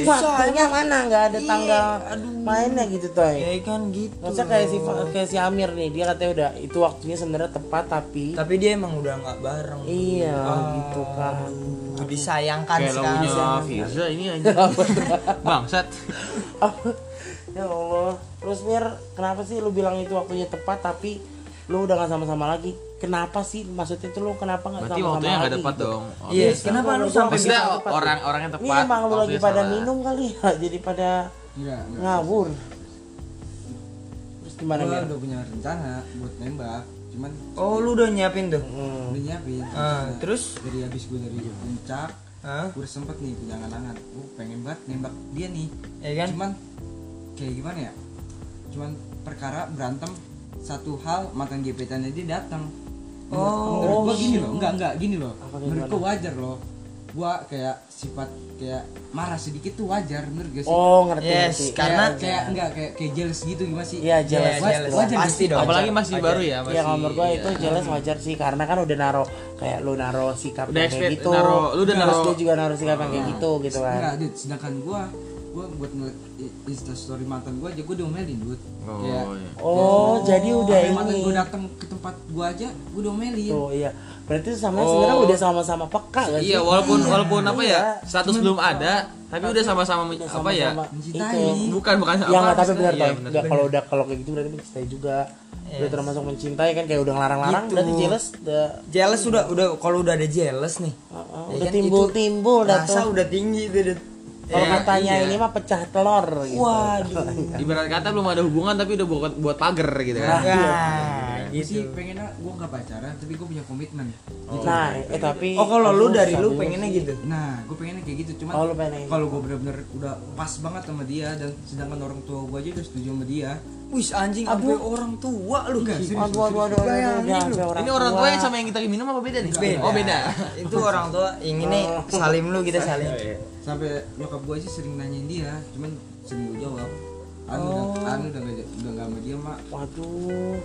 S2: Ini waktunya mana nggak ada
S1: Iya,
S2: tanggal mainnya gitu
S1: ya
S3: Iya.
S2: toy
S1: kan gitu
S2: Maksudnya kayak si kayak si Amir nih dia katanya udah itu waktunya sebenarnya tepat tapi
S1: tapi dia emang udah nggak bareng
S2: iya
S3: Ah.
S2: gitu kan
S1: Aduh, disayangkan
S3: Kayak
S1: sekali
S3: lagunya Firza ini anjing. Bangsat.
S2: Apa? ya Allah terus Mir kenapa sih lu bilang itu waktunya tepat tapi lu udah nggak sama-sama lagi kenapa sih maksudnya itu lu kenapa nggak
S3: Berarti
S2: sama-sama
S3: waktunya
S2: lagi
S3: nggak tepat
S2: gitu?
S3: dong. Oh.
S1: Iya, kenapa lu sampai
S3: Maksudnya
S2: bisa tepat?
S3: orang orang yang
S2: ini
S3: tepat.
S2: emang lu lagi
S3: waktunya
S2: pada
S3: salah.
S2: minum kali ya jadi pada
S4: enggak enggak
S2: ngawur terus gimana
S4: gua
S2: Mir
S4: udah punya rencana buat nembak cuman
S1: oh lu udah nyiapin tuh
S2: Hmm.
S4: udah nyiapin
S1: Ah,
S4: Nah,
S1: terus?
S4: dari habis gue dari puncak
S1: Hah?
S4: gue sempet nih punya angan gue pengen banget nembak dia nih
S1: ya kan
S4: cuman kayak gimana ya cuman perkara berantem satu hal makan gebetannya dia datang
S1: Oh.
S4: menurut gua gini loh enggak enggak gini loh
S2: Apa
S4: menurut
S2: gimana?
S4: gua wajar loh gua kayak sifat kayak marah sedikit tuh wajar bener gak sih
S2: oh ngerti
S1: Yes,
S2: ngerti
S1: kan. karena-
S4: kayak, kayak enggak kayak kayak jealous gitu gimana sih
S2: Iya, jealous.
S1: Iya,
S4: Wa-
S1: jealous.
S4: wajar nggak
S1: Pasti
S4: sih?
S1: dong.
S3: Apalagi masih
S1: Wajar.
S3: baru ya, masih.
S2: Iya kalau menurut gue
S3: iya.
S2: itu jelas wajar sih karena kan udah naro kayak lu naro sikap
S3: Udah
S2: yang kayak
S3: expect-
S2: gitu.
S3: naro- lu udah
S2: Terus
S3: naro- Nah.
S2: dia juga naro sikap yang kayak gitu gitu kan.
S4: Enggak, Dit. sedangkan gua gua buat ngeliat i- instastory mantan gua aja gua diomelin dude
S3: Oh,
S4: Kayak,
S3: iya.
S2: Oh, jadi udah
S4: sampai mantan
S2: ini.
S4: gua datang ke tempat gua aja gua diomelin
S2: Tuh iya. Berarti itu sama
S3: Oh.
S2: sebenarnya udah sama-sama peka kan sih?
S3: Iya, walaupun walaupun apa ya?
S2: Iya.
S3: Status belum ada, tapi udah sama-sama
S2: Udah
S3: apa ya?
S2: sama-sama
S4: mencintai.
S2: itu.
S3: Bukan bukan
S2: Ya nggak tapi
S3: maksudnya,
S2: benar
S3: iya,
S2: toh. Nggak, kalau udah kalau kayak gitu berarti mencintai juga. Udah termasuk mencintai kan kayak udah ngelarang-larang
S1: Gitu.
S2: berarti jelas udah
S1: jealous udah udah kalau udah ada jealous nih
S2: uh,
S1: ya
S2: udah
S1: kan, itu
S2: timbul-timbul dah
S1: rasa
S2: tuh.
S1: udah tinggi tuh Dut.
S2: Kalau
S3: Iya,
S2: katanya
S3: iya.
S2: ini mah pecah telur gitu.
S1: waduh
S3: Ibarat kata belum ada hubungan tapi udah buat buat pagar gitu kan.
S1: nah
S4: Gua sih
S1: gitu
S4: pengennya gua nggak pacaran tapi gua punya komitmen Gitu.
S2: Nah, eh tapi
S1: oh kalau lu dari lu
S2: Susah
S1: pengennya gitu
S4: nah gua pengennya kayak gitu cuman
S2: Oh, lu pengen kayak
S4: kalau gua bener-bener udah pas banget sama dia dan sedangkan orang tua gua aja udah setuju sama dia
S1: wis anjing sampai orang tua lu
S4: Enggak, serius,
S2: Aduh, aduh, aduh, aduh, aduh, jangan sampai orang
S3: Ini orang tua yang sama yang kita minum apa beda nih?
S1: Beda. Oh.
S3: Oh, beda.
S1: itu orang tua ingin nih salim lu kita salim
S4: sampai nyokap gua sih sering nanyain dia cuman sering gua jawab anu udah
S2: Oh.
S4: anu udah nggak udah nggak sama dia mak
S2: Waduh.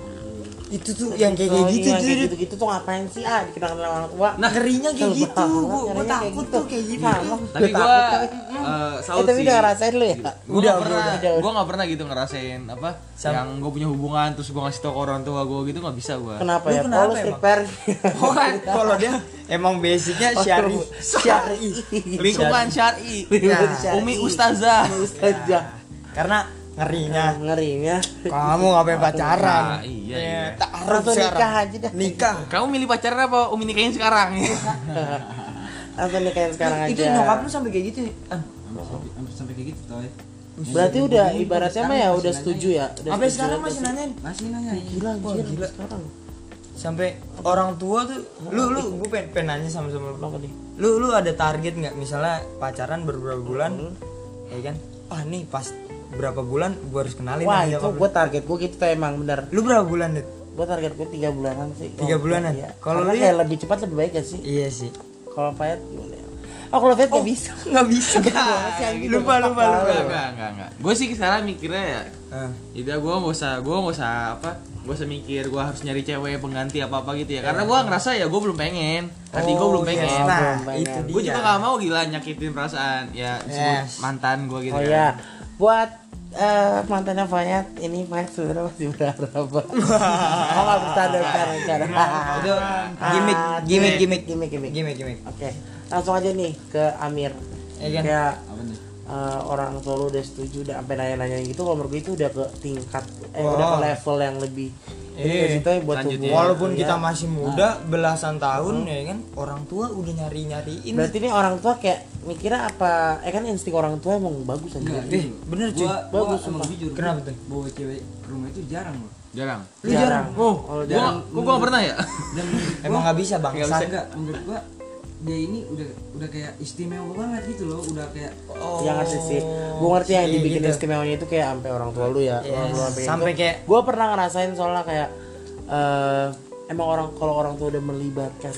S1: itu tuh yang kayak
S2: Oh,
S1: gitu
S2: iya,
S1: tuh
S2: kayak
S1: Dut.
S2: gitu-gitu tuh ngapain sih ah dikenal kenal orang tua.
S1: nah ngerinya kayak
S2: Kesel
S1: gitu
S2: banget,
S1: gua gua
S2: ngerinya kayak
S1: takut tuh kayak gitu
S2: Sama.
S3: Tapi
S2: Gua
S3: gua
S2: takut,
S3: eh
S2: tapi- Eh,
S3: salut
S2: tapi
S3: sih.
S2: udah ngerasain lu ya?
S3: Gua
S1: Udah,
S3: nggak pernah,
S2: udah, udah.
S3: gua nggak pernah gitu ngerasain apa
S1: Sam-
S3: yang gue punya hubungan terus gue ngasih tau ke orang tua gue gitu nggak bisa gue.
S2: Kenapa
S1: Lu
S2: ya?
S1: kenapa
S2: Kalau lu
S1: emang?
S2: stripper.
S1: Orang kalau dia emang basicnya syari syari
S3: Lingkungan syari, Nah,
S1: Lingkungan
S2: syar'i.
S3: umi
S2: Ah,
S3: ustazah.
S2: Aja.
S1: Ya. karena
S2: Nah,
S1: ngerinya
S2: Ngerinya.
S1: kamu ngapain pacaran
S3: Nah, iya,
S1: Ya,
S3: iya.
S1: tak harus
S2: Langsung nikah
S1: sekarang.
S2: aja dah.
S1: nikah
S3: Kamu milih pacaran apa umi nikahin sekarang?
S2: Atau nikahin sekarang aja.
S1: itu nyokap lu sampai kayak gitu An.
S4: Sampai- sampai, sampai kayak gitu toh
S2: Berarti udah ibaratnya mah ya udah setuju ya. Udah
S1: sampai
S2: setuju
S1: sekarang
S2: aja
S1: masih
S2: sih.
S1: nanyain
S4: masih nanyain
S2: Gila,
S1: Wah,
S2: anjir,
S1: gila.
S2: sekarang.
S1: sampai orang tua tuh lu lu gue pengen, pengen nanya sama sama lu
S2: Kenapa nih?
S1: lu lu ada target nggak misalnya pacaran beberapa bulan
S2: Hmm.
S1: ya kan ah nih pas berapa bulan gue harus kenalin
S2: Wah,
S1: sama
S2: itu
S1: nyokap lu.
S2: gua target gua gitu tuh emang bener.
S1: lu berapa bulan Dit?
S2: Gua target gua 3 bulanan sih.
S1: Tiga
S2: Oh,
S1: bulanan?
S2: iya.
S1: Kalau
S2: Karena
S1: lu ya-
S2: kayak lebih cepat lebih baik ya sih.
S1: iya sih
S2: Kalau Fayat gimana ya? Oh, kalau Fayat nggak bisa.
S1: nggak bisa
S2: gitu.
S1: lupa lupa lupa
S3: Enggak enggak enggak. enggak. Gue sih sekarang mikirnya ya
S1: Ah,
S3: Ida gue gak usah, gue gak usah apa Gue usah mikir, gue harus nyari cewek pengganti apa-apa gitu ya Karena gue ngerasa ya gue belum pengen Hati gue belum pengen
S1: yes,
S2: Iya. Nah,
S1: nah
S2: belum
S1: itu
S2: banyak.
S1: dia
S3: Gue juga gak mau gila nyakitin perasaan Ya disebut
S1: Yes.
S3: mantan gue gitu
S2: Oh
S3: kan.
S2: ya, buat eh, mantannya Fayat ini Fayat sebenarnya masih berharap. Oh nggak bercanda bercanda bercanda. Ah,
S1: itu gimmick gimmick gimmick
S2: Gimik gimik.
S1: gimmick gimmick
S2: Oke, langsung aja nih ke Amir.
S1: Ya kan?
S2: Kayak
S4: apa nih
S2: eh, orang tua lu udah setuju, udah sampai nanya-nanya gitu, kalau menurut gue itu udah ke tingkat, eh
S1: Wah.
S2: udah ke level yang lebih. Jadi
S1: Iya.
S2: dari situ buat
S3: Lanjut
S2: hubungan.
S3: ya.
S1: walaupun
S2: Iya.
S1: kita
S3: Nah. Hmm.
S1: masih muda belasan tahun ya kan orang tua udah nyari nyariin
S2: Berarti ini orang tua kayak mikirnya apa eh kan insting orang tua emang bagus aja
S4: Enggak,
S1: Eh,
S4: jujur.
S1: bener, cuy.
S4: Gua,
S2: Bagus,
S4: gua emang
S2: sumpah.
S4: jujur.
S1: Kenapa
S4: gua
S1: tuh?
S4: Bawa cewek ke rumah itu jarang loh.
S3: jarang
S1: Lu jarang.
S2: oh kalau
S3: gua
S2: jarang
S3: kok gua gak pernah ya
S4: Dan menurut gua,
S1: Emang nggak bisa bang.
S3: Nggak
S4: Sa-
S3: bisa.
S4: enggak, menurut gua dia ini udah udah kayak istimewa banget gitu loh, udah kayak
S2: Ya ngerti sih. Gue ngerti yang
S1: Iya,
S2: dibikin
S1: gitu.
S2: istimewanya itu kayak sampai orang tua lu ya.
S1: Yes,
S4: Iya.
S2: Orang tua pengen
S1: sampai
S2: itu.
S1: kayak-
S2: Gua pernah ngerasain soalnya kayak eh emang orang kalau orang tua udah melibatkan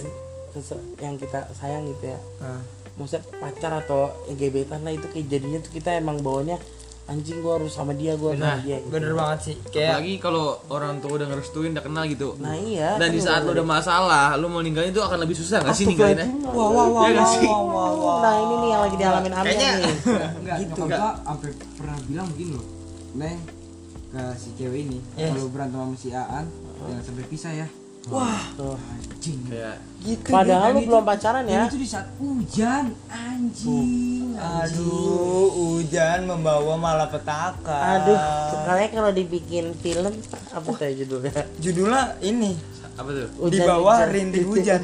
S2: sese- yang kita sayang gitu ya.
S1: Ah.
S2: Maksudnya pacar atau gebetan lah itu kayak jadinya tuh kita emang bawanya anjing gua harus sama dia, gua harus sama
S1: Nah,
S2: dia. gitu.
S1: bener banget sih. Kayak
S3: lagi kalau orang tua udah ngerestuin udah kenal gitu
S2: Nah iya.
S3: dan di saat lo udah masalah lo mau ninggalin itu akan lebih susah gak sih ninggalinnya
S2: Astagfirullahaladzim.
S1: wah wah wah
S3: Iya nggak
S1: wah
S3: sih?
S1: wah wah. wah.
S2: Nah ini nih yang lagi dialamin Amel
S3: Kayaknya-
S2: nih.
S4: enggak gitu nyokap gua sampai pernah bilang begini loh. Neng ke si cewek ini
S1: Yes.
S4: kalau berantem sama si Aan jangan sampai pisah ya.
S1: Wah,
S2: Tuh.
S4: Anjing.
S3: kayak
S1: gitu.
S2: Padahal lu
S4: Dan itu-
S2: belum pacaran
S4: Dan
S2: ya.
S4: itu di saat hujan, anjing.
S1: Aduh, hujan membawa malapetaka.
S2: Aduh, kalian kalau dibikin film apa tuh judulnya?
S1: Judulnya ini
S3: apa tuh
S1: Di bawah rintik hujan.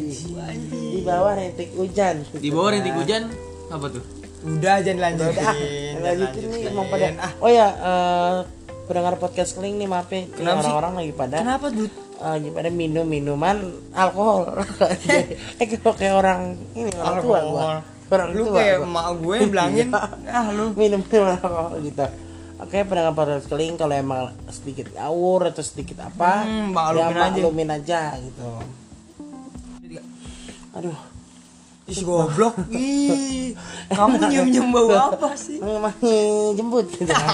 S2: Di bawah rintik hujan.
S3: di bawah rintik hujan apa tuh
S1: Udah jangan
S2: Udah,
S1: lanjutin. jangan
S2: lanjutin nih emang pada.
S1: lanjutin. Ah,
S2: Oh ya, eh, pendengar podcast keling nih maaf ya, Ini
S1: Kenapa sih?
S2: orang-orang lagi pada
S1: kenapa Dut?
S2: eh, lagi pada minum minuman alkohol. eh kalau kayak orang ini orang tua gua.
S1: Alkohol.
S2: Orang
S1: Lu kayak
S2: tua gua. Iya.
S1: emak gue bilangin, ah lu
S2: minum minum alkohol gitu oke pendengar podcast keling kalau emang sedikit ngawur atau sedikit apa
S1: Hmm, maklumin
S2: ya
S1: aja.
S2: maklumin aja gitu aduh
S1: Ih goblok. Ih. Kamu nyium-nyium bau apa sih?
S2: emang jemput gitu kan.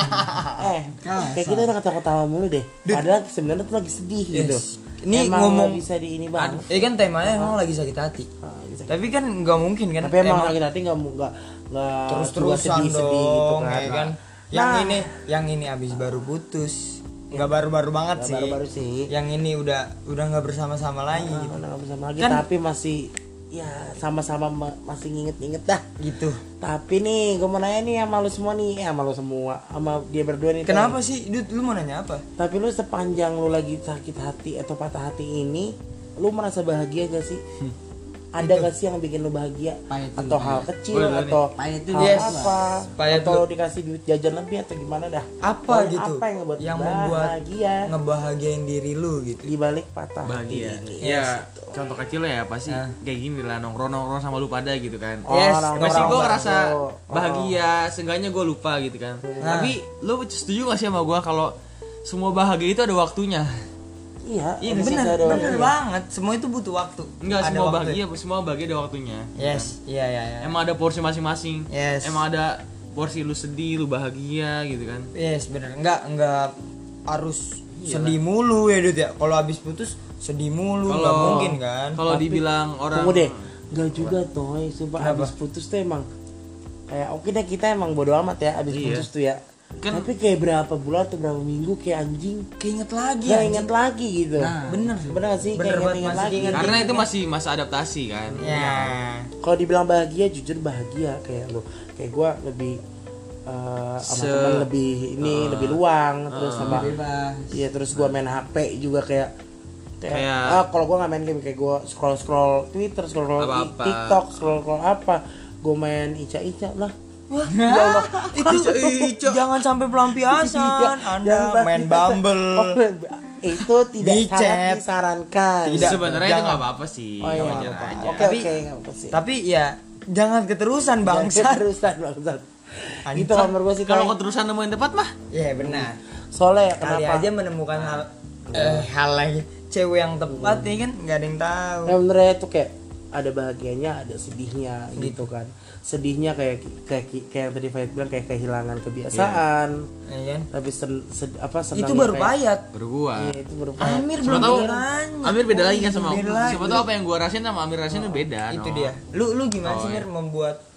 S2: eh kayak kita udah ketawa-ketawa mulu deh padahal sebenarnya tuh lagi sedih gitu
S1: Ini
S2: emang
S1: ngomong-
S2: nggak bisa di ini bang
S1: Ini kan temanya emang lagi sakit hati.
S2: Ah, bisa.
S1: Tapi kan nggak mungkin kan.
S2: tapi emang lagi nanti nggak mau- nggak nggak juga
S1: terus-terusan
S2: sedih-sedih gitu
S1: dong,
S2: kan, Nah.
S1: ya kan? Yang ini, yang ini abis baru putus. Nggak baru-baru banget
S2: Iya. Nggak
S1: sih.
S2: baru-baru sih.
S1: Yang ini udah udah nggak bersama-sama lagi
S2: Nah,
S1: gitu.
S2: udah nggak bersama lagi
S1: Kan-
S2: tapi masih ya sama-sama ma- masih nginget-nginget dah
S1: Gitu.
S2: Tapi nih, gue mau nanya nih sama lu semua nih, eh, sama lu semua, sama dia berdua nih.
S1: Kenapa
S2: Teng.
S1: sih, Dut? Lu mau nanya apa?
S2: Tapi lu sepanjang lu lagi sakit hati atau patah hati ini, lu merasa bahagia gak sih? Ada gak sih yang bikin lu bahagia?
S4: Pahit dulu,
S2: atau hal
S4: pahit.
S2: kecil
S3: Boleh dulu
S2: atau
S4: Pahit dulu,
S2: hal
S1: yes.
S2: apa?
S1: Pahit
S2: atau
S1: dulu.
S2: dikasih duit jajan lebih atau gimana dah?
S1: Apa
S2: Pokoknya
S1: gitu?
S2: Apa yang ngebuat
S1: yang
S2: lu
S1: membuat
S2: bahagia
S1: ngebahagiain diri lu gitu.
S2: di balik patah
S3: bahagia
S2: hati ini?
S3: ya contoh kecilnya ya pasti kayak gini lah nongkrong nongkrong sama lu pada gitu kan
S2: Oh,
S1: Yes,
S2: orang-orang
S3: pasti gue
S2: baru.
S3: ngerasa
S2: Oh.
S3: bahagia seenggaknya gue lupa gitu kan tapi lu setuju gak sih sama gue kalau semua bahagia itu ada waktunya
S2: Iya,
S1: Iya
S2: udah
S1: bener,
S2: selesai doang.
S1: bener banget. Semua itu butuh waktu.
S3: enggak
S1: Ada
S3: semua
S1: waktu.
S3: bahagia semua bahagia ada waktunya
S1: Yes, iya iya iya.
S3: emang ada porsi masing-masing
S1: Yes.
S3: emang ada porsi lu sedih lu bahagia gitu kan
S1: Yes, bener. Enggak enggak
S3: Iya
S1: harus sedih mulu ya Dut ya. Kalau habis putus sedih mulu enggak mungkin kan.
S3: kalau dibilang orang
S2: Tunggu deh, gak juga toy, sumpah abis putus tuh emang kayak oke deh kita emang bodo amat ya abis putus tuh ya.
S3: Kan-
S2: Tapi kayak berapa bulan atau berapa minggu kayak anjing
S1: Keinget lagi
S2: nggak
S1: Iya, anjing.
S2: inget lagi gitu.
S1: bener.
S2: bener gak sih?
S1: Bener banget,
S2: kayak nggak inget
S1: masih
S2: lagi.
S1: diinget.
S3: karena itu masih masa adaptasi kan
S1: Ya.
S2: Kalau dibilang bahagia, jujur bahagia kayak lo, kayak gua lebih eh, sama
S3: Se-
S2: teman lebih ini lebih luang terus sama
S4: Bebas.
S2: Iya terus gua main HP juga kayak kayak,
S3: Kayak-
S2: ah kalau gua nggak main game kayak gua scroll scroll Twitter scroll scroll
S3: Apa-apa.
S2: TikTok scroll scroll apa gua main ica ica lah Ya
S1: Itu Iya. jangan sampai pelampiasan. Anda main
S2: Iya, ya Oh,
S1: Bumble.
S2: itu tidak
S1: Di
S2: sangat
S1: chat.
S2: disarankan
S1: Tidak,
S3: sebenarnya itu
S1: jangan.
S3: nggak apa-apa sih
S2: oh iya
S3: wajar
S2: apa-apa.
S3: aja
S2: oke
S1: Tapi-
S2: oke nggak apa sih
S1: Tapi ya jangan keterusan bangsa.
S2: terusan bangsat
S1: Anjing.
S2: itu kamar gua sih
S3: kalau
S2: Tay.
S3: keterusan nemuin tempat mah
S1: Ya benar.
S2: soalnya
S1: Kali
S2: kenapa
S1: aja menemukan hal eh, hal lagi cewek yang tepat ya kan nggak ada yang tahu.
S2: Nah, benernya itu kayak ada bahagianya, ada sedihnya
S1: Hmm.
S2: gitu kan. Sedihnya kayak kayak kayak yang tadi Fahid bilang kayak kehilangan kebiasaan,
S1: Ya kan?
S2: tapi sen, sed- apa senang
S1: Itu baru payat.
S3: baru gua
S2: Iya, itu baru pahit.
S1: Amir
S3: Siapa
S1: belum
S3: tahu
S1: nanya.
S3: Amir beda lagi kan sama
S1: Beda lagi.
S3: Siapa Oh. tahu apa yang gua rasain sama Amir rasain itu beda.
S1: itu
S3: no.
S1: dia lu lu gimana sih Mir membuat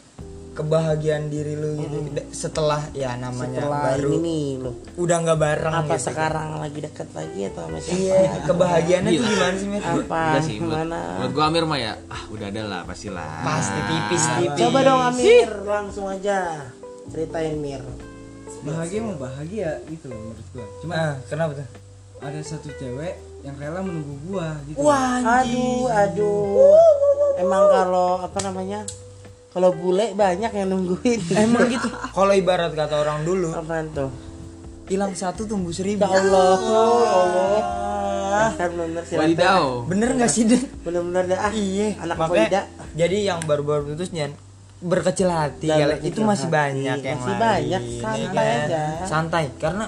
S1: kebahagiaan diri lu gitu da- setelah ya namanya
S2: Setelah
S1: baru
S2: ini nih lo.
S1: udah nggak bareng
S2: Apa
S1: gitu.
S2: sekarang lagi dekat lagi atau sama siapa?
S1: iya kebahagiaannya tuh
S3: Gila.
S1: gimana sih Mir
S2: Apa?
S3: Enggak sih menurut,
S2: Gimana?
S3: menurut gua Amir mah ya ah udah ada lah pastilah.
S1: pasti tipis tipis
S2: Iya, Gitu. Coba dong Amir, langsung aja ceritain Mir.
S4: Bahagia mau bahagia gitu loh menurut gua. Cuma
S1: Ah, kenapa tuh
S4: ada satu cewek yang rela menunggu
S2: Ah.
S4: gua gitu.
S1: wah
S2: Aduh, aduh. Emang kalau apa namanya? Kalau bule banyak yang nungguin.
S1: Emang gitu. Kalau ibarat kata orang dulu,
S2: Apaan tuh?
S1: hilang satu tumbuh seribu.
S2: Ya Allah, ya Allah. Dasar bener benar
S3: Wadidau
S1: Bener nggak sih Den?
S2: Bener-bener dah. ah.
S1: Iya.
S2: Anak
S1: Makanya,
S2: Wida.
S1: Jadi yang baru-baru putus nyan berkecil hati
S2: Dan
S1: ya,
S2: berkecil
S1: itu masih
S2: hati.
S1: banyak yang
S2: Masih
S1: lain,
S2: banyak,
S1: ya
S2: santai
S1: kan?
S2: aja.
S1: Santai karena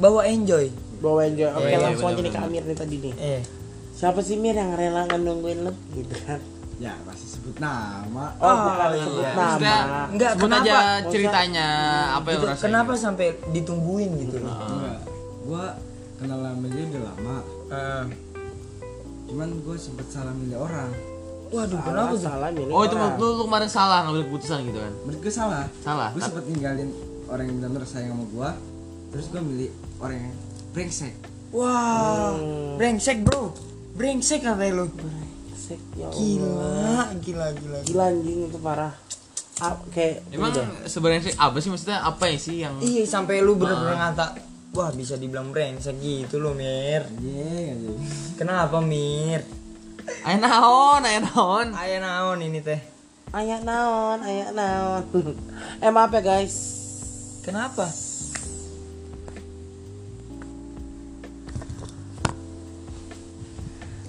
S1: bawa enjoy.
S2: Bawa enjoy. Oke,
S3: Iya, iya,
S2: langsung aja nih ke
S3: bener-bener.
S2: Amir nih tadi nih.
S1: Eh,
S2: Siapa sih Mir yang rela nungguin lu gitu kan?
S4: ya pasti sebut nama
S2: Oh, jangan sebut
S3: Ah, iya, Maksudnya,
S2: nama.
S1: Enggak,
S3: sebut
S1: kenapa?
S3: aja ceritanya apa yang
S1: gitu,
S3: lu rasain
S1: kenapa sampai ditungguin gitu loh?
S2: Ah.
S4: Enggak, gue kenal sama dia udah lama
S1: Eh,
S4: cuman gue sempet salah milih orang
S1: waduh,
S2: Salah,
S1: kenapa tuh?
S2: salah ya? milih
S3: Oh itu
S2: orang.
S1: Nah.
S3: menurut lu, lu kemarin salah ngambil keputusan gitu kan
S4: menurut gue salah
S3: Salah,
S4: gue
S3: tapi-
S4: sempet ninggalin orang yang benar sayang sama gue terus gue milih orang yang brengsek
S1: Wah,
S2: Hmm.
S1: brengsek bro, brengsek katanya lo.
S2: Sek, ya
S1: Gila,
S2: Allah.
S1: gila, gila.
S2: Gila anjing itu parah. Ah, kayak
S3: Emang sebenarnya sih apa sih maksudnya apa ya sih yang
S1: Iya, sampai lu bener-bener ngata, wah bisa dibilang brengsek gitu lo Mir.
S4: anjing anjing
S1: Kenapa Mir?
S3: Ayo naon, ayo naon
S1: Ayo naon ini teh.
S2: ayak naon, ayak naon. eh maaf ya guys.
S1: Kenapa?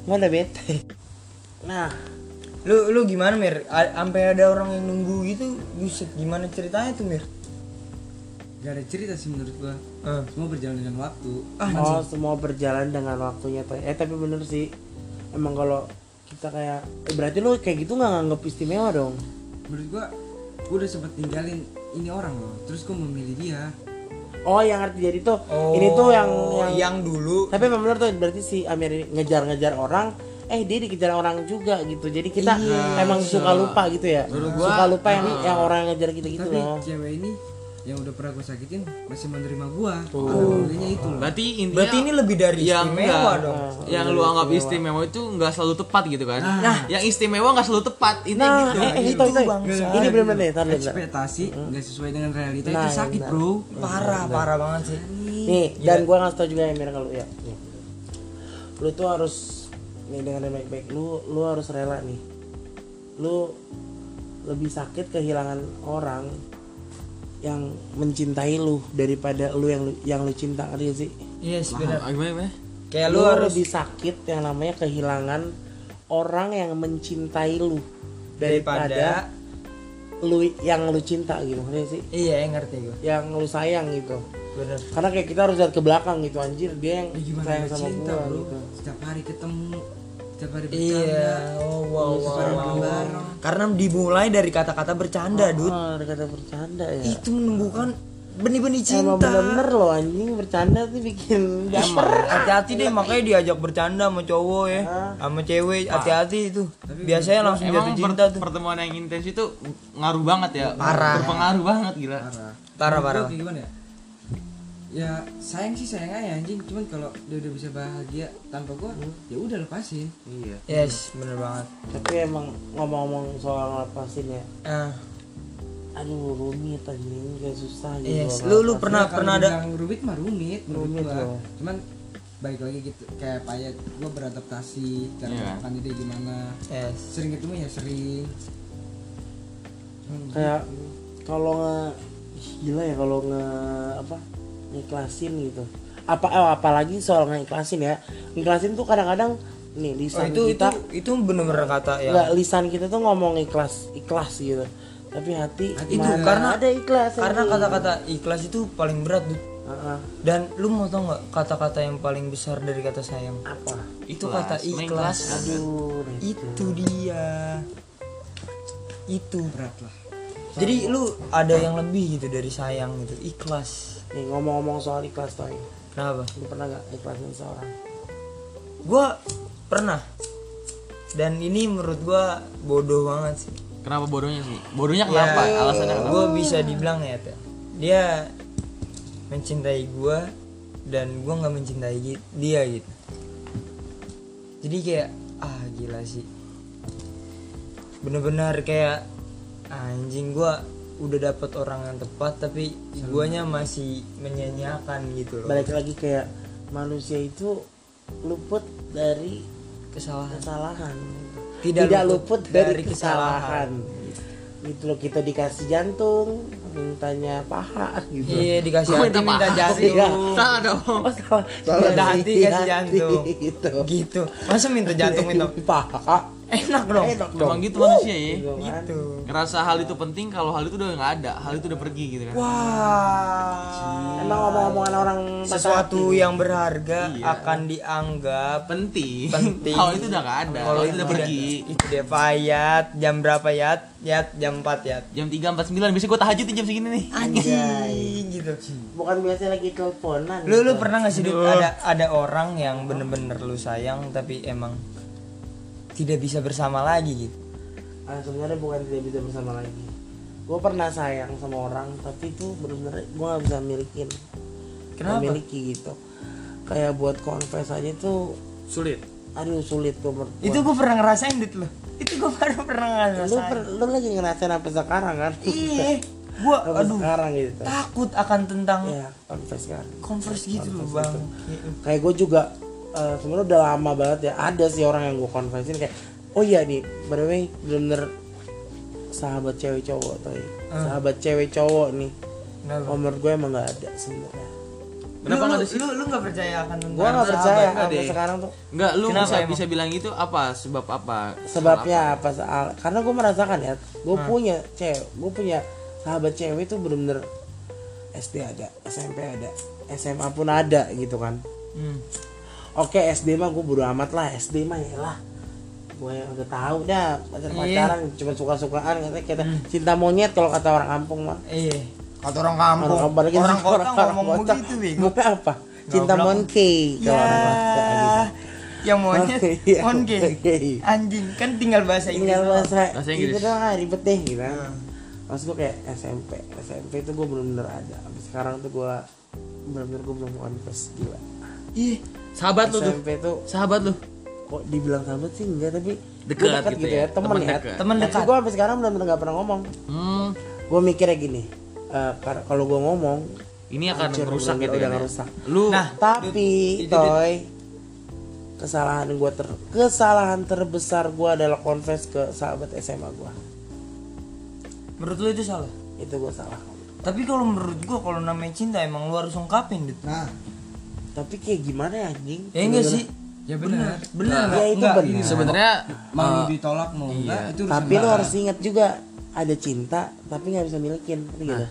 S2: Gua udah bete. Nah,
S1: Lu lu gimana Mir? A- Sampai ada orang yang nunggu gitu, buset gimana ceritanya tuh Mir?
S4: gak ada cerita sih menurut gue
S1: Eh.
S4: semua berjalan dengan waktu Ah,
S2: oh semua berjalan dengan waktunya Toy. Eh tapi bener sih. Emang kalau kita kayak eh, berarti lu kayak gitu nggak nganggep istimewa dong.
S4: menurut gue gue udah sempet ninggalin ini orang loh terus gue memilih dia
S2: Oh, yang ngerti jadi tuh ini tuh yang yang,
S1: Oh, yang dulu
S2: tapi emang bener tuh berarti si Amir ini ngejar-ngejar orang eh dia dikejar orang juga gitu jadi kita emang suka lupa gitu ya suka lupa yang yang orang ngejar kita gitu
S4: tapi
S2: loh
S4: cewek ini yang udah pernah gue sakitin masih menerima gue alhamdulillahnya itu loh
S3: Berarti intinya
S1: berarti ini lebih dari
S3: yang
S1: istimewa
S3: enggak-
S1: dong.
S3: Yang lu anggap istimewa itu nggak selalu tepat gitu kan Nah yang istimewa nggak selalu tepat Ini
S2: nah
S3: gitu
S2: eh, eh itu itu
S1: bangsa.
S2: ini bener-bener nih tahan dulu, bentar.
S4: ekspektasi nggak sesuai dengan realita
S2: Nah,
S4: itu sakit
S2: benar.
S4: bro
S1: Parah, parah banget sih.
S2: nih
S1: Iya.
S2: dan gua ngasih tau juga ya Amir kalau ya Nih. lu tuh harus nih dengan baik-baik lu lu harus rela nih lu lebih sakit kehilangan orang yang mencintai lu daripada lu yang lu- yang lu cinta ngerti gak sih
S1: Yes, benar.
S3: Ah, Gimana gimana
S1: Kayak Iya, Ya,
S2: lu,
S1: lu harus
S2: lebih sakit yang namanya kehilangan orang yang mencintai lu
S1: daripada
S2: lu yang lu cinta gitu ngerti sih
S1: iya yang ngerti gue
S2: yang lu sayang gitu
S1: bener
S2: karena kayak kita harus lihat ke belakang gitu anjir dia yang
S1: Eh,
S4: Ya gimana
S2: sayang
S4: nggak
S2: sama
S4: cinta
S2: gua
S4: bro
S2: gitu
S4: setiap hari ketemu setiap hari bercanda
S1: iya oh, wow, wow,
S4: bareng
S1: wow,
S4: bareng.
S1: wow. karena dimulai dari kata-kata bercanda dud
S2: oh, ada kata bercanda ya
S1: itu menumbuhkan benih-benih cinta
S2: Emang bener-bener loh anjing bercanda tuh bikin
S1: Emang, hati-hati deh makanya diajak bercanda sama cowok ya sama cewek hati-hati itu biasanya langsung
S3: Emang
S1: jatuh
S3: per-
S1: cinta tuh
S3: pertemuan yang intens itu ngaruh banget ya
S1: Parah.
S3: Berpengaruh banget gila
S1: parah
S4: Menurut
S1: parah
S4: gua kayak gimana ya ya sayang sih sayang aja anjing cuman kalau dia udah bisa bahagia tanpa gua ya udah lepasin
S3: Iya
S1: yes bener banget
S2: tapi emang ngomong-ngomong soal ngelepasin ya
S1: Ah,
S2: aduh rumit anjing kayak susah gitu
S1: yes lu lu
S2: ngelepas.
S1: pernah
S4: Kalau
S1: pernah ada
S4: dibilang rumit mah rumit menurut
S2: Rumit
S4: gua.
S2: loh.
S4: cuman balik lagi gitu kayak payah gua beradaptasi cara
S3: Iya.
S4: yeah. dia gimana
S1: yes
S4: sering ketemu ya sering
S2: kayak kalau nge gila ya kalau nge apa ngiklasin gitu apa eh, apalagi soal ngiklasin ya ngiklasin tuh kadang-kadang
S1: oh,
S2: nih lisan
S1: itu itu
S2: kita
S1: itu bener-bener kata yang
S2: nggak lisan kita tuh ngomong ikhlas ikhlas gitu tapi hati,
S1: itu
S2: mana
S1: karena
S2: ada ikhlas
S1: karena kata-kata ikhlas itu paling berat Dut.
S2: Heeh.
S1: dan lu mau tau nggak kata-kata yang paling besar dari kata sayang
S2: apa
S1: itu kata ikhlas
S3: mengikhlaskan.
S2: aduh nih.
S1: itu dia itu
S4: berat lah
S1: jadi lu ada yang lebih gitu dari sayang gitu ikhlas
S2: nih ngomong-ngomong soal ikhlas toy
S1: kenapa
S2: lu pernah nggak ikhlasin seorang
S1: gua pernah dan ini menurut gua bodoh banget sih
S3: Kenapa bodohnya sih? Bodohnya kenapa?
S1: Ya,
S3: Alasannya kenapa?
S1: Gue bisa dibilang ya, Teh. Dia mencintai gue dan gue nggak mencintai gi- dia gitu. Jadi kayak ah gila sih. Bener-bener kayak anjing gue udah dapet orang yang tepat tapi guanya masih menyanyiakan gitu loh.
S2: balik lagi kayak manusia itu luput dari
S1: Kesalahan.
S2: kesalahan
S1: Tidak
S2: tidak,
S1: luput
S2: luput,
S1: dari
S2: dari kesalahan. gitu loh kita dikasih jantung mintanya paha gitu
S1: Iya dikasih hati minta
S2: Iya.
S1: jantung.
S3: Salah dong.
S2: Oh, salah.
S1: Salah
S2: Dikasih
S1: hati, kasih jantung.
S2: iya, gitu
S1: Gitu. Masa minta jantung minta
S2: paha
S1: enak dong.
S2: enak dong
S3: Emang gitu manusia ya.
S2: Gitu kan.
S1: Gitu.
S3: Ngerasa hal itu penting kalau hal itu udah nggak ada, hal itu udah pergi gitu kan.
S1: Wah.
S2: emang omong-omongan orang patah
S1: Sesuatu
S2: hati.
S1: yang berharga
S3: Iya.
S1: akan dianggap
S3: Penting.
S1: Penting.
S3: Kalau itu udah nggak ada, kalau itu udah
S1: tidak-
S3: Nah, pergi.
S1: Itu dia payat jam berapa yat? Yat jam 4 yat.
S3: Jam 3.49 biasanya gue tahajud nih jam segini nih.
S1: Anjing gitu.
S2: bukan biasanya lagi teleponan
S1: Lu lu
S2: gitu.
S1: pernah nggak sih Dit, ada ada orang yang bener-bener lu sayang tapi emang tidak bisa bersama lagi gitu.
S2: Ah, sebenarnya bukan tidak bisa bersama lagi gue pernah sayang sama orang tapi itu bener-bener gue gak bisa milikin
S1: Kenapa?
S2: miliki gitu kayak buat confess aja tuh
S3: Sulit.
S2: aduh sulit tuh menurut gua.
S1: Itu gue pernah ngerasain dit lu. Itu gue baru pernah
S2: lu,
S1: ngerasain.
S2: per- lu lagi ngerasain apa sekarang kan
S1: Iya, gue
S2: Apa
S1: aduh
S2: sekarang gitu
S1: takut akan tentang
S2: ya confess kan
S1: converse gitu loh bang.
S2: kayak gue juga eh, sebenarnya udah lama banget ya ada sih orang yang gue confessin kayak oh iya nih by the way bener-bener sahabat cewek cowok tuh
S1: Ah.
S2: sahabat cewek cowok nih
S1: Kenapa?
S2: Nomor gue emang gak ada sebenarnya
S3: Kenapa
S1: lu,
S3: nggak
S1: lu,
S3: ada sih?
S1: lu, lu nggak percaya akan tentang
S2: Gue gak
S1: sahabat?
S2: percaya
S3: nggak
S2: sampai
S3: deh.
S2: sekarang tuh
S3: Enggak, lu
S1: Kenapa
S3: bisa
S1: emang?
S3: bisa bilang gitu apa? Sebab apa?
S2: Sebabnya apa soal Karena gue merasakan ya Gue punya cewek Gue punya sahabat cewek itu bener-bener SD ada SMP ada SMA pun ada gitu kan
S1: Hmm.
S2: Oke SD mah gue bodo amat lah SD mah ya lah Gue udah tahu dah
S1: Iya.
S2: Pacar-pacaran cuma suka-sukaan katanya kita
S1: Hmm.
S2: Cinta monyet kalau kata orang kampung mah
S1: Iya. Kata orang kampung. Orang,
S2: apalagi
S1: kota
S2: orang
S1: ngomong gitu,
S2: kota.
S1: begitu bego.
S2: Gue apa? Cinta
S1: Goblok.
S2: monkey kalau
S1: Iya.
S2: orang kota gitu.
S1: Ya. Yang monyet,
S2: Oke, iya.
S1: monkey.
S2: Oke.
S1: Anjing, kan tinggal bahasa Inggris.
S2: tinggal bahasa
S3: Bahasa Inggris.
S2: Inggris doang ah, ribet deh gitu kan Terus gue kayak SMP SMP itu gue bener-bener ada Sampai sekarang tuh gue bener-bener gue belum confess gila
S3: Ih, sahabat lu tuh.
S2: SMP tuh
S3: Sahabat lu.
S2: kok dibilang sahabat sih enggak tapi gue
S3: Dekat
S2: gitu,
S3: gitu
S2: ya
S3: ya,
S2: temen,
S3: temen
S2: ya
S3: dekat.
S1: Temen dekat.
S2: gue sampai sekarang bener-bener gak pernah ngomong
S3: Hmm.
S2: gue mikirnya gini eh, kar- kalau gue ngomong
S3: Ini akan
S2: hancur,
S3: merusak
S2: bener-bener
S3: gitu
S2: udah
S3: kan. ya?
S2: ngerusak
S3: Lu
S1: Nah,
S2: tapi
S1: Dut, itu, Dut.
S2: toy kesalahan gue ter kesalahan terbesar gue adalah confess ke sahabat SMA gue
S1: Menurut lu itu salah?
S2: itu gue salah
S1: Tapi kalau menurut gua kalau namanya cinta emang lu harus ungkapin Dit.
S4: nah
S2: Tapi kayak gimana ya anjing?
S1: Ya enggak sih?
S4: ya benar
S1: Bener
S2: Ya
S1: enggak?
S2: itu
S1: Enggak.
S2: benar.
S3: sebenarnya
S4: mau
S3: eh,
S4: ditolak mau enggak itu urusan
S2: Tapi lo
S4: belakang.
S2: harus ingat juga ada cinta tapi nggak bisa milikin, ngerti gitu.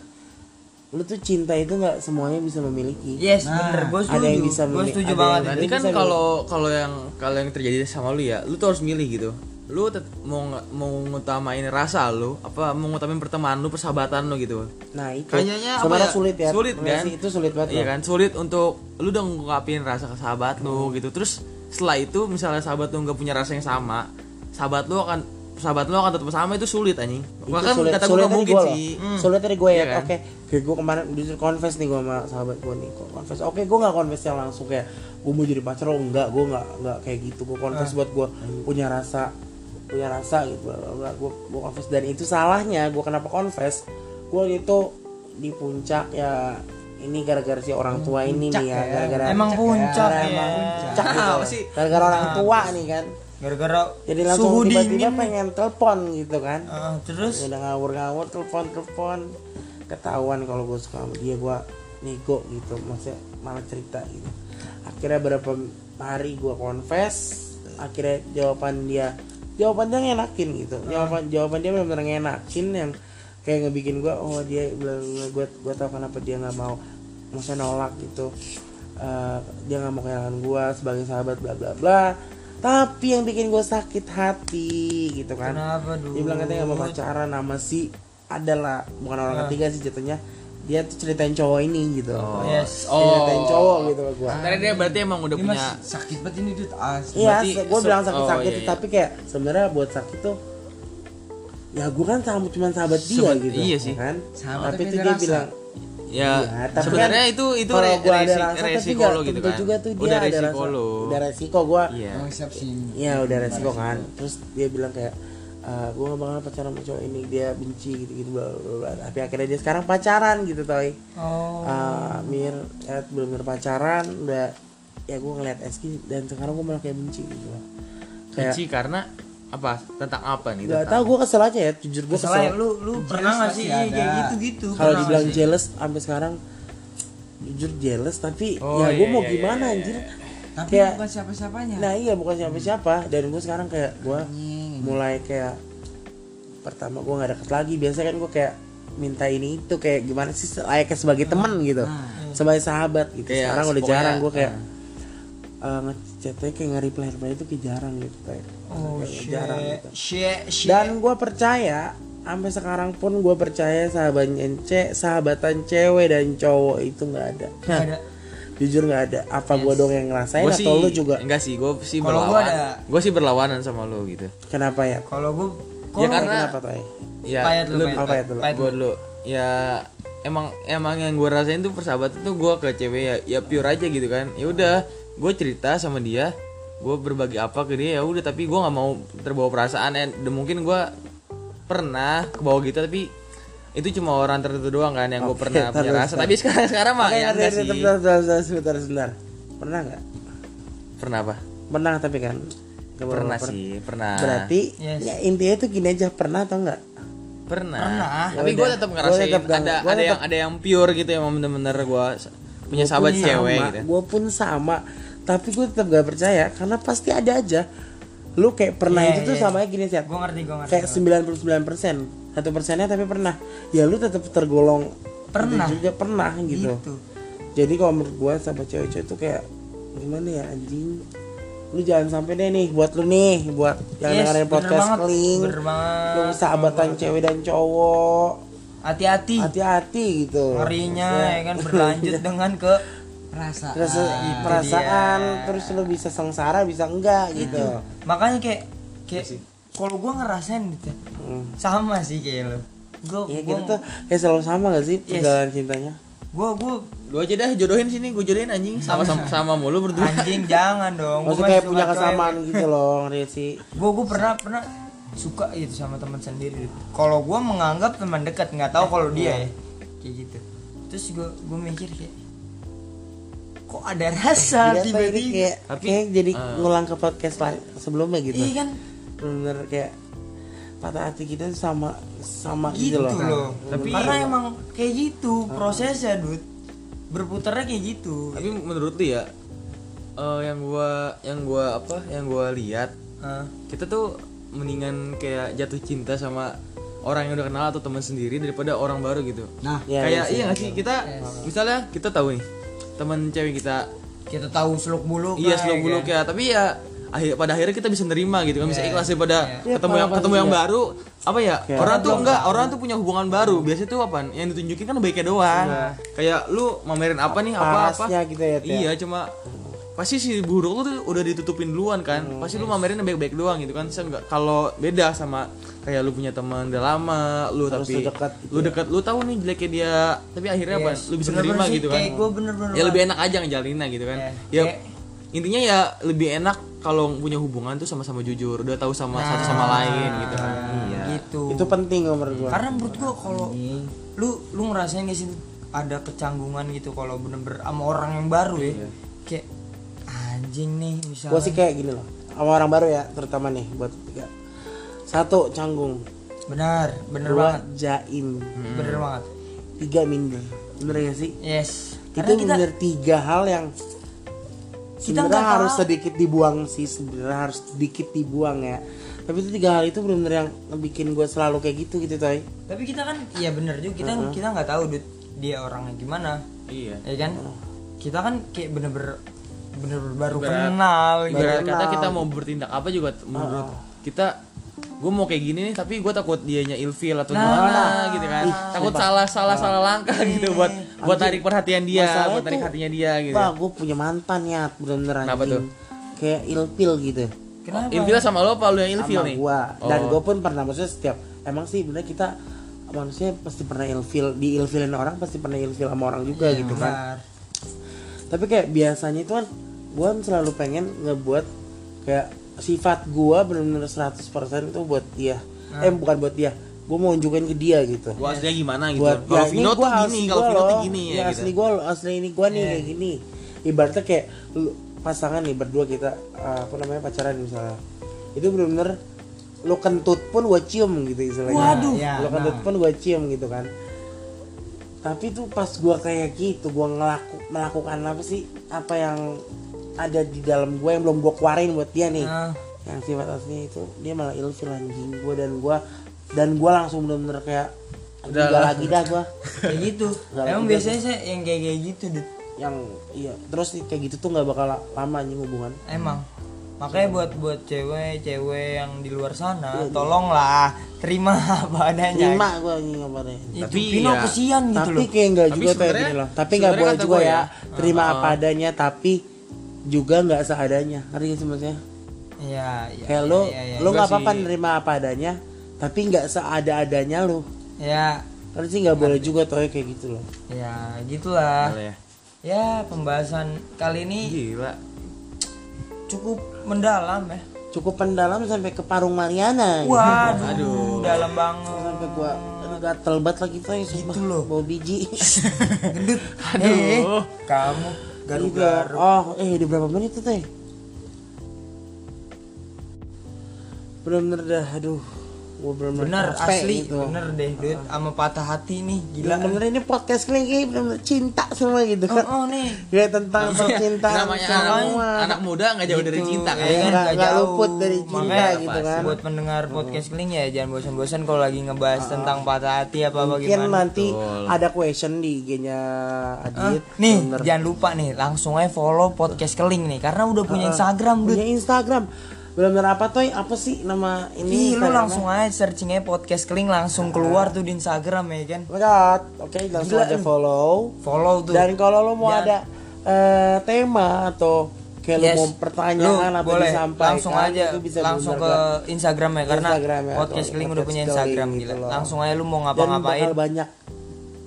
S2: Lo tuh cinta itu nggak semuanya bisa memiliki.
S1: Yes,
S4: Nah,
S1: bener. Gua
S2: ada
S1: setuju.
S2: yang bisa
S1: Gua
S2: memilih,
S1: setuju
S2: ada
S1: banget.
S2: yang
S1: Dit.
S3: berarti kan
S2: bisa milih.
S3: kalau kalau yang kalau yang terjadi sama lu ya, lu tuh harus milih gitu. Lu tet- mau nge- mau ngutamain rasa lu apa mau ngutamain pertemanan lu, persahabatan lu gitu.
S2: Nah itu
S3: Kayaknya apa
S2: sebenarnya
S3: ya?
S2: sulit ya.
S3: Sulit,
S2: Bener
S3: kan?
S2: sih, Itu sulit banget. ya.
S3: Iya
S2: loh.
S3: kan sulit untuk lu udah ngungkapin rasa ke sahabat lu
S2: Hmm.
S3: gitu. Terus setelah itu misalnya sahabat lu nggak punya rasa yang sama, sahabat lu akan sahabat lu akan tetap sama itu sulit anjing.
S2: Itu
S3: Bahkan
S2: sulit,
S3: kata gue
S2: sulit
S3: kan nggak
S2: dari
S3: mungkin
S2: gue loh.
S3: sih. Hmm.
S2: Sulit dari gue ya.
S3: Iya kan?
S2: Oke, kayak gue kemarin disuruh confess nih gue sama sahabat gue nih. Gue confess. Oke, gue nggak confess yang langsung kayak gue mau jadi pacar lo enggak. Gue nggak nggak kayak gitu. Gue confess
S1: Ah.
S2: buat gue punya rasa punya rasa gitu. Gue gue confess dan itu salahnya. Gue kenapa confess? Gue itu di puncak ya ini gara-gara si orang tua ini nih ya, gara-gara
S1: Hmm, Emang puncak
S2: gara-gara
S1: ya.
S2: emang puncak gitu.
S3: Apa sih?
S2: gara-gara orang tua nih kan
S1: Gara-gara
S2: jadi langsung
S1: suhu
S2: tiba-tiba
S1: dingin.
S2: pengen telepon gitu kan
S1: Ah, terus
S2: udah ngawur-ngawur telepon telepon ketahuan kalau gue suka sama dia gue nego gitu maksudnya malah cerita gitu akhirnya berapa hari gue confess akhirnya jawaban dia jawaban dia ngenakin gitu
S1: Hmm.
S2: jawaban jawaban dia benar-benar ngenakin yang kayak ngebikin gue oh dia gue gue tau kenapa dia nggak mau maksudnya nolak gitu Eh, dia nggak mau kehilangan gue sebagai sahabat bla bla bla tapi yang bikin gue sakit hati gitu kan
S1: Kenapa, Dut?
S2: dia bilang katanya nggak mau pacaran sama si adalah bukan
S3: Ah.
S2: orang ketiga sih jatuhnya dia tuh ceritain cowok ini gitu
S1: Yes.
S2: Dia ceritain
S3: Oh.
S2: cowok gitu ke gue
S3: Sebenarnya dia berarti emang udah
S4: ini mas
S3: punya ya,
S4: sakit banget ini dude asli
S2: iya
S3: berarti
S2: gue
S3: se-
S2: bilang sakit sakit
S3: oh, iya, iya.
S2: tapi kayak sebenarnya buat sakit tuh ya gue kan sama cuma sahabat dia
S3: Seben-
S2: gitu
S3: iya sih.
S2: ya kan
S4: Sahabat
S2: tapi
S4: tapi
S2: itu
S4: ada
S2: dia
S4: rasa.
S2: bilang
S3: ya,
S2: Iya, tapi
S3: sebenarnya
S2: kan
S3: itu itu
S2: kalau
S3: re-
S2: gue ada
S3: resi-
S2: rasa tapi
S3: resiko
S2: nggak
S3: lo gitu
S2: tentu
S3: kan.
S2: juga tuh dia
S3: udah
S2: ada
S3: resiko
S2: rasa
S3: lo.
S2: udah resiko gue
S3: Iya.
S4: mau exception
S2: Iya udah resiko kan. Terus dia bilang kayak gue gak bakal pacaran sama cowok ini dia benci gitu gitu bla bla bla, bla. Tapi akhirnya dia sekarang pacaran gitu toy.
S1: Oh.
S2: Eh, mir ya, belum berpacaran udah ya gue ngeliat Eski dan sekarang gue malah kayak benci gitu. Kayak
S3: Benci karena apa tentang apa nih
S2: Gak
S3: tentang
S2: tau gue kesel aja ya jujur gue
S1: Salah ya
S2: kesel.
S1: lu lu
S4: Jelas
S1: pernah nggak
S4: masih
S1: sih
S4: ada.
S1: kayak gitu gitu?
S2: Kalau dibilang jealous sampai sekarang jujur jealous tapi
S3: Oh,
S2: ya gue
S3: iya,
S2: mau
S3: iya,
S2: gimana
S3: iya, iya,
S2: anjir.
S4: tapi
S2: Kayak-
S4: bukan
S1: Ya.
S4: siapa-siapanya
S2: Nah iya bukan siapa siapa
S1: Hmm.
S2: dan gue sekarang kayak gue
S4: Anjing.
S2: mulai kayak pertama gue nggak deket lagi biasanya kan gue kayak minta ini itu kayak gimana sih layaknya
S1: Ah,
S2: sebagai teman gitu sebagai sahabat gitu
S3: Iya,
S2: sekarang udah
S3: pokoknya, ah.
S2: jarang gue kayak eh, ngechatnya kayak nge-reply reply itu kayak jarang gitu kayak
S1: Oh
S2: kayak
S1: shit,
S2: jarang gitu
S1: shit, shit.
S2: dan gue percaya sampai sekarang pun gue percaya sahabatnya ce sahabatan cewek dan cowok itu nggak ada
S1: Nggak ada.
S2: jujur nggak ada apa gue dong yang ngerasain
S3: Gua
S2: atau lu juga
S3: enggak sih gue sih
S1: Kalau gua
S3: berlawan
S1: ada-
S3: gue sih berlawanan sama lo gitu
S2: kenapa ya
S1: Kalau gue,
S3: ya karena
S2: kenapa toh ya?
S3: ya
S1: Payet lu, payet.
S2: apa ya tuh
S1: Pahit
S3: gue dulu ya emang emang yang gue rasain tuh persahabatan tuh gue ke cewek ya ya pure aja gitu kan ya udah gue cerita sama dia gue berbagi apa ke dia ya udah tapi gue nggak mau terbawa perasaan eh, dan mungkin gue pernah ke bawah gitu tapi itu cuma orang tertentu doang kan yang gue
S2: Oke,
S3: pernah punya
S2: terus,
S3: rasa tapi sekarang sekarang mah
S2: Oke,
S3: ya
S2: bentar,
S3: enggak sih
S2: bentar, bentar, bentar, sebentar, sebentar. Pernah nggak?
S3: pernah apa
S2: Pernah tapi kan? Nggak
S3: pernah sih pernah
S2: Berarti
S1: Yes.
S2: ya intinya tuh gini aja pernah atau nggak?
S3: pernah,
S1: Pernah.
S3: tapi
S2: Ya
S3: gue
S2: udah.
S3: tetap
S2: Gua
S3: ngerasain
S2: tetap gak-
S3: ada
S2: gua
S3: ada
S2: tetap-
S3: yang ada yang pure gitu yang bener-bener gue punya sahabat cewek
S1: Ya.
S3: gitu
S2: Gue pun sama, tapi gue tetap gak percaya karena pasti ada aja. Lu kayak pernah
S1: Iya,
S2: itu tuh
S1: iya.
S2: sama gini sih.
S1: Gue ngerti, gue ngerti.
S2: Kayak 99 persen, satu persennya tapi pernah. Ya lu tetap tergolong
S1: Pernah.
S2: itu juga pernah gitu.
S1: Gitu.
S2: Jadi kalau menurut gue sama cewek-cewek tuh kayak gimana ya anjing lu jangan sampai deh nih buat lu nih buat yang
S1: Yes, bener
S2: dengerin podcast
S1: banget,
S2: keling
S1: bener banget,
S2: lu sahabatan cewek dan cowok
S1: Hati-hati.
S2: hati-hati gitu
S1: Ngerinya ya kan berlanjut dengan ke
S4: rasa
S2: terus
S1: Ah, itu
S2: perasaan
S1: dia. Hmm.
S2: terus lu bisa sengsara bisa enggak gitu
S1: makanya kayak kayak kalau gue ngerasain gitu ya,
S2: Hmm.
S1: sama sih kayak lo. Gue
S2: Iya
S1: gue
S2: gitu tuh kayak selalu sama gak sih perjalanan cintanya
S1: gue gue
S3: Lu aja dah jodohin sini, gue jodohin anjing sama sama, sama mulu berdua.
S1: anjing jangan dong.
S2: maksudnya kayak punya kesamaan gitu loh ngeri sih
S1: Gue gue pernah pernah suka gitu sama teman sendiri. Kalau gue menganggap teman dekat nggak tahu kalau dia
S2: Iya.
S1: ya kayak gitu. Terus gue gue mikir kayak kok ada rasa
S2: Gila tuh, ini
S1: Ah, tiba-tiba.
S2: Iya,
S1: Ah.
S2: kayak, kayak jadi ngulang ke podcast lain sebelumnya gitu
S1: Iya kan
S2: bener kayak patah hati kita tuh sama sama
S1: gitu
S2: gitu,
S1: loh.
S3: Tapi-
S1: karena emang kayak gitu prosesnya, Dut. Berputarnya kayak gitu.
S3: Tapi menurut lu ya eh, yang gua yang gua apa? Yang gua lihat
S1: Hah.
S3: kita tuh mendingan kayak jatuh cinta sama orang yang udah kenal atau teman sendiri daripada orang baru gitu.
S4: nah
S2: Iya,
S3: kayak iya nggak sih kita misalnya kita tahu nih teman cewek kita
S1: kita tahu seluk buluk
S3: iya
S2: gitu
S3: slow bulu
S2: kan.
S3: ya tapi ya akhir pada akhirnya kita bisa nerima gitu kan bisa
S2: Iya.
S3: ikhlas daripada ketemu yang ketemu yang baru apa ya orang tuh enggak orang tuh punya hubungan baru biasanya tuh apa yang ditunjukin kan baiknya doang kayak lu mamerin apa nih apa apa
S2: Iya. Parasnya gitu ya, Tia.
S3: iya cuma pasti si buruk lu tuh udah ditutupin duluan kan
S2: Hmm.
S3: pasti lu mamerin yang baik-baik doang gitu kan Saya enggak kalau beda sama kayak lu punya teman udah lama lu
S2: Harus
S3: tapi
S2: lu dekat gitu Iya.
S3: lu dekat lu tahu nih jeleknya dia tapi akhirnya apa lu bisa
S1: Bener-bener
S3: nerima
S1: sih,
S3: gitu kan
S1: kayak gua bener-bener
S3: ya
S1: banget.
S3: lebih enak aja ngejalinnya gitu kan
S1: Iya.
S3: ya intinya ya lebih enak kalau punya hubungan tuh sama-sama jujur udah tahu sama
S2: Nah.
S3: satu sama lain gitu kan iya
S1: gitu
S2: itu penting loh menurut gua
S1: karena menurut gua kalau lu lu ngerasain gak sih ada kecanggungan gitu kalau bener-bener sama orang yang baru ya kayak anjing nih misalnya
S2: Iya. gua sih kayak gini loh sama orang baru ya terutama nih buat tiga satu canggung
S1: benar bener
S2: dua
S1: banget
S2: jaim
S1: bener banget
S2: tiga minder bener gak sih
S1: yes
S2: itu
S1: karena kita
S2: bener tiga hal yang
S1: Kita
S2: sebenarnya
S1: nggak tahu.
S2: harus sedikit dibuang sih sebenarnya harus sedikit dibuang ya tapi itu tiga hal itu bener-bener yang bikin gua selalu kayak gitu gitu toy
S1: tapi kita kan iya bener juga kita
S2: Uh-huh.
S1: kita nggak tahu Dut, dia orangnya gimana
S3: iya
S1: ya kan
S2: Uh-huh.
S1: kita kan kayak bener-bener bener-bener baru kenal gitu.
S3: ibarat
S2: Iya.
S3: kata kita mau bertindak apa juga t- menurut
S2: Ah.
S3: kita gue mau kayak gini nih tapi gue takut dianya ilfil
S2: Nah.
S3: atau gimana gitu kan takut salah salah salah langkah gitu buat buat tarik perhatian dia
S2: Masalahnya
S3: Iya, buat tarik
S2: tuh,
S3: hatinya dia gitu
S2: Wah, gue punya mantan ya, bener-bener
S3: Kenapa
S2: anjing.
S3: tuh?
S2: Kayak ilfil gitu.
S1: kenapa
S3: ilfil sama lo apa lo yang ilfil
S2: sama
S3: nih Oh.
S2: gua. Dan gue pun pernah maksudnya setiap emang sih bener kita manusia pasti pernah ilfil, diilfilin orang pasti pernah ilfil sama orang juga
S3: Iya,
S2: gitu kan.
S1: benar
S2: Tapi kayak biasanya itu kan gue selalu pengen ngebuat kayak sifat gua bener-bener 100% itu buat dia. Eh bukan buat dia. Gue mau unjukin ke dia gitu.
S3: gue aslinya gimana gitu
S2: buat
S3: kalau
S2: ya, ini
S3: Vino tuh
S2: gua asli
S3: gini kalau
S2: gua
S3: Vino tuh
S2: loh.
S3: gini
S2: ya,
S3: ya
S2: asli
S3: gitu
S2: gua loh, asli ini gua nih kayak gini ibaratnya kayak lu- pasangan nih berdua kita eh, apa namanya pacaran misalnya itu bener-bener lo kentut pun gua cium gitu istilahnya
S1: Waduh.
S3: Iya,
S1: Ya,
S2: lo kentut
S1: nah.
S2: pun gua cium gitu kan tapi tuh pas gua kayak gitu gua ngelaku melakukan apa sih apa yang ada di dalam gua yang belum gua keluarin buat dia nih
S1: Ah.
S2: yang sifat aslinya itu dia malah ilfil anjing gua dan gua dan gua langsung bener-bener kayak
S3: Udah
S2: udah
S3: lah.
S2: lagi dah gua
S1: kayak gitu
S2: Nggak
S1: emang
S2: lagi
S1: biasanya saya yang kayak kayak gitu Dit.
S2: yang iya terus kayak gitu tuh nggak bakal la- lama anjing hubungan
S1: emang makanya buat buat cewek-cewek yang di luar sana tolonglah terima apa adanya
S2: terima gua anjing kabarnya
S1: itu
S3: Tapi
S1: Pino
S3: ya,
S1: kesian Iya, gitu
S2: tapi
S1: loh
S2: kayak enggak
S3: Tapi
S2: juga tuh ya,
S3: sebenarnya-
S2: gini loh tapi nggak
S3: sebenarnya
S2: boleh
S3: kata
S2: juga
S3: gua
S2: ya
S3: ya,
S2: terima
S3: uh-uh.
S2: apa adanya tapi juga nggak seadanya ngerti gak sih maksudnya
S1: Iya, iya.
S2: kayak lo
S1: iya, iya.
S2: lo
S3: Gua
S2: nggak apa-apa
S3: sih-
S2: nerima apa adanya tapi nggak seada-adanya lo
S1: ya
S2: ngerti sih nggak boleh juga tuh ya, kayak gitu loh
S1: ya gitulah
S3: Boleh Iya. ya?
S1: ya pembahasan kali ini
S3: Gila.
S1: cukup mendalam ya
S2: cukup pendalam sampai ke parung Mariana gitu.
S1: waduh dalam banget
S2: sampai gua aduh, gatel banget lagi tuh ya sumpah.
S1: Gitu loh.
S2: bau biji
S1: gendut aduh kamu
S2: Iya.
S1: garu-garu
S2: Oh, eh di berapa menit tuh teh? Bener-bener dah, aduh, gue bener-bener
S1: bener
S2: capek
S1: asli
S2: gitu.
S1: bener deh duit sama patah hati nih gila
S2: Gila, bener ini podcast kalian kayak bener-bener cinta semua gitu
S1: oh,
S2: kan?
S1: oh nih
S2: Gak tentang percintaan
S3: namanya
S2: semua.
S3: anak, anak muda nggak jauh dari
S1: Gitu,
S3: cinta kan.
S2: ya.
S1: kan,
S2: Nggak-
S1: nggak
S2: nggak
S1: jauh.
S2: luput dari cinta
S1: Makanya
S2: gitu kan.
S1: buat pendengar podcast keling ya jangan bosan-bosan kalau lagi ngebahas tentang patah hati apa apa
S2: Ah. Mungkin
S1: gimana
S2: nanti ada question di IG-nya
S1: Ah,
S2: Adit.
S1: nih
S2: Bener.
S1: jangan lupa nih langsung aja follow podcast keling nih karena udah
S2: Ah,
S1: punya Instagram dude
S2: punya Instagram. Bener-bener apa tuh? Apa sih nama
S1: Ih,
S2: ini?
S1: lu
S2: ya.
S1: langsung aja searching aja podcast keling langsung keluar tuh di Instagram ya kan
S2: Oh my God. Oke, langsung
S1: Gila,
S2: aja
S1: lu.
S2: follow.
S1: follow tuh
S2: Dan kalau lo mau
S1: Dan-
S2: ada eh, tema atau kayak lo
S1: Yes.
S2: mau pertanyaan
S1: Lu
S2: apa
S1: boleh
S2: disampaikan,
S1: langsung aja
S2: itu bisa
S1: langsung ke
S2: bener-bener.
S1: Instagram ya karena
S2: Instagram ya,
S1: podcast
S2: atau
S1: keling udah
S2: podcast
S1: punya
S2: Keling
S1: Instagram
S2: gitu
S1: gila
S2: loh.
S1: langsung aja lu mau
S2: dan
S1: ngapa-ngapain
S2: bakal banyak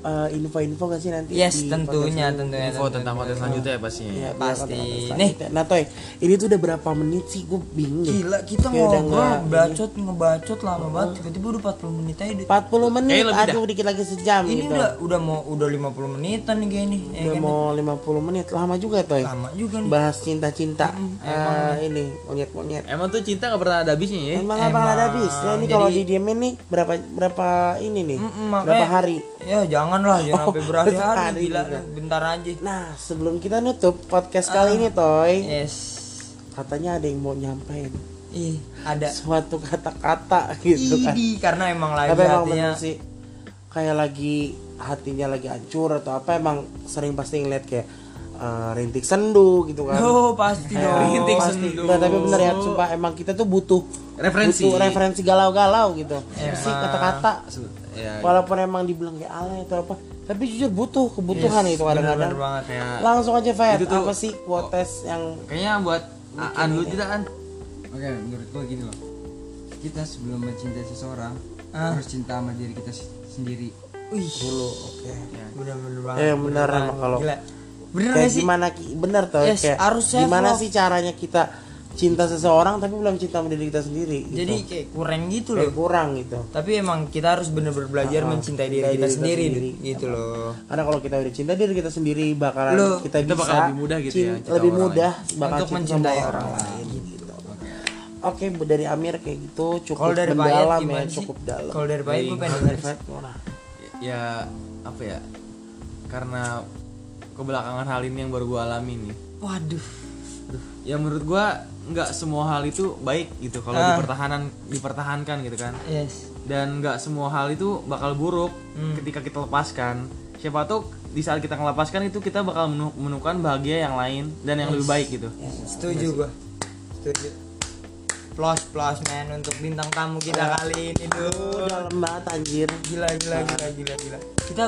S2: eh, info-info gak sih nanti?
S1: yes
S2: di
S1: tentunya tentunya
S3: Info
S1: tentunya.
S3: tentang konten selanjutnya ya pastinya.
S2: podcast- ya,
S1: pasti.
S2: bakal konten
S1: Nih.
S2: selanjutnya. Nah Toy, ini tuh udah berapa menit sih? Gue bingung ya. deh.
S1: Gila kita
S2: Kayak udah
S1: ngobrol
S2: nggak-
S1: bacot ngebacot lama banget tiba-tiba udah 40 menit aja Dit.
S2: 40 menit,
S3: Eh, lebih
S2: aduh dikit lagi sejam
S1: ini
S2: gitu.
S1: udah udah mau udah 50 menitan nih kayak ini ya
S2: Udah
S1: kan?
S2: mau 50 menit, lama juga Toy.
S1: lama juga nih ya.
S2: Bahas cinta-cinta. Eh, ini monyet-monyet.
S3: Emang tuh cinta nggak pernah ada habisnya ya.
S2: Emang apa ada habis? Ya ini kalau
S1: Eh, Jadi-
S2: didiemin nih berapa berapa ini nih?
S1: Mm-mm,
S2: berapa
S1: makanya-
S2: hari?
S1: ya jangan lah jangan
S2: Oh,
S1: sampai berhari-hari
S2: berhari
S1: gila
S2: juga.
S1: bentar aja
S2: Nah, sebelum kita nutup podcast kali ini, Toy,
S1: yes
S2: katanya ada yang mau nyampein
S1: ih ada
S2: suatu kata-kata gitu kan.
S1: Idi karena emang lagi
S2: Tapi emang
S1: hatinya
S3: ya.
S2: bener sih kayak lagi hatinya lagi hancur atau apa emang sering pasti ngeliat kayak eh, rintik sendu gitu kan.
S1: Oh pasti dong
S3: Rintik
S1: Pasti.
S3: sendu.
S2: Nah, tapi bener ya, sumpah emang kita tuh butuh
S3: Referensi.
S2: butuh referensi galau-galau gitu. Apa sih kata-kata.
S3: Se- Ya,
S2: Walaupun emang dibilang kayak alay atau apa, tapi jujur butuh kebutuhan itu
S1: Bener-bener
S2: kadang-kadang.
S1: banget ya
S3: kayak-
S2: Langsung aja Fed,
S3: Itu tuh-
S2: apa sih quotes yang
S3: kayaknya buat Aan dulu tidak Aan.
S4: Oke, menurut gua gini loh. Kita sebelum mencintai seseorang harus cinta sama diri kita se- sendiri.
S1: Wih
S2: dulu? Oke.
S1: Ya, Bener-bener banget
S2: Eh benar emang kalau
S1: Gitu kan. Gila Bener
S2: kayak
S1: gak sih
S2: gimana gitu? ki- bener tuh
S1: Yes,
S2: kayak
S1: harus
S2: gimana
S1: self-love.
S2: sih caranya kita cinta seseorang tapi belum cinta sama diri kita sendiri gitu.
S1: Jadi kayak kurang gitu
S2: Kayak
S1: loh
S2: kurang gitu.
S1: Tapi emang kita harus bener-bener belajar
S2: Ah,
S1: mencintai diri kita sendiri
S2: sendiri.
S1: Dut. Gitu loh
S2: Karena kalau kita udah cinta diri kita sendiri bakalan
S1: Lu-
S2: kita,
S3: kita
S2: bisa
S3: bakal lebih mudah gitu ya,
S2: cin-
S3: cinta
S2: lebih
S3: orang
S2: mudah bakal
S1: Untuk
S2: cinta
S1: mencintai
S2: sama
S1: orang
S2: lain gitu. Oke, dari Amir kayak gitu cukup
S1: Kalau dari Payet
S2: mendalam ya,
S1: gimana sih?
S2: cukup dalam.
S1: Kalau dari Payet gue pengen denger
S2: Fed, mana?
S3: Ya apa ya? Karena kebelakangan hal ini yang baru gua alami nih.
S1: Waduh
S3: Ya menurut gua nggak semua hal itu baik gitu kalau dipertahanan dipertahankan gitu kan.
S1: Yes
S3: dan nggak semua hal itu bakal buruk ketika kita lepaskan siapa tahu di saat kita ngelepaskan itu kita bakal menu- menemukan bahagia yang lain dan yang lebih baik gitu
S1: Setuju gua Setuju Plus plus man untuk bintang tamu kita kali ini Dut
S2: Oh, dalam banget anjir.
S1: Gila gila gila gila gila Kita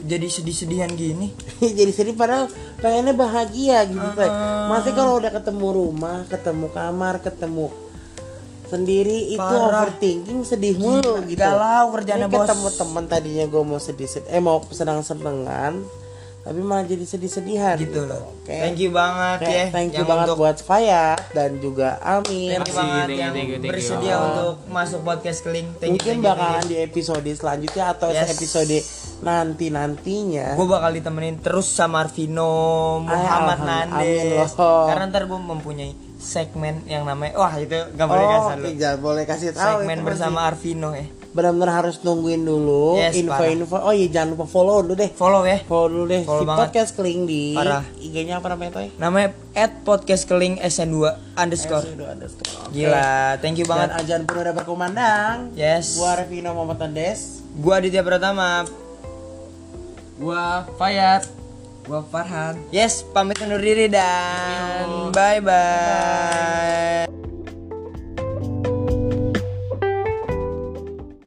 S1: jadi sedih-sedihan gini
S2: jadi sedih padahal pengennya bahagia gitu Teh. masih kalau udah ketemu rumah ketemu kamar ketemu sendiri itu overthinking sedih mulu gitu
S1: galau kerjaannya,
S2: Ini
S1: Bos.
S2: ketemu teman tadinya gue mau sedih sedih eh mau senang senengan tapi malah jadi sedih sedihan
S1: gitu loh.
S2: oke
S1: Thank you banget
S2: Oke,
S1: ya.
S2: thank you
S1: yang
S2: banget
S1: untuk
S2: buat Fayat dan juga Amir
S1: thank you banget
S3: Thank you,
S1: yang
S3: thank you, thank you.
S1: bersedia untuk masuk podcast keling. Thank you,
S2: mungkin
S1: thank you, thank you.
S2: bakalan di episode selanjutnya atau
S1: Yes.
S2: episode nanti nantinya
S1: Gue bakal ditemenin terus sama Arvino, Muhammad
S2: alhamdulillah. Amin
S1: Nandes.
S2: loh.
S1: Karena ntar gue mempunyai segmen yang namanya wah itu gak boleh
S2: oh,
S1: kasar lu.
S2: tidak boleh kasih tahu
S1: Segmen
S2: itu
S1: bersama Arvino ya.
S2: nanti. benar-benar harus nungguin dulu
S1: Yes,
S2: info-info oh iya jangan lupa follow dulu deh
S1: Follow ya.
S2: follow dulu deh
S1: Follow
S2: si
S1: banget.
S2: podcast keling di
S1: Parah.
S2: IG-nya apa namanya toy
S1: Namanya at podcast keling SN2 underscore.
S2: Sudah ada sekarang. Oke.
S1: Gila, thank you
S2: dan
S1: banget.
S2: ajan pun udah berkumandang
S1: Yes.
S2: gua Revino Muhammad Tandes
S1: Gua Aditya Pratama.
S3: Gua Fayat.
S4: Gua Farhan
S1: Yes, pamit undur diri dan bye bye.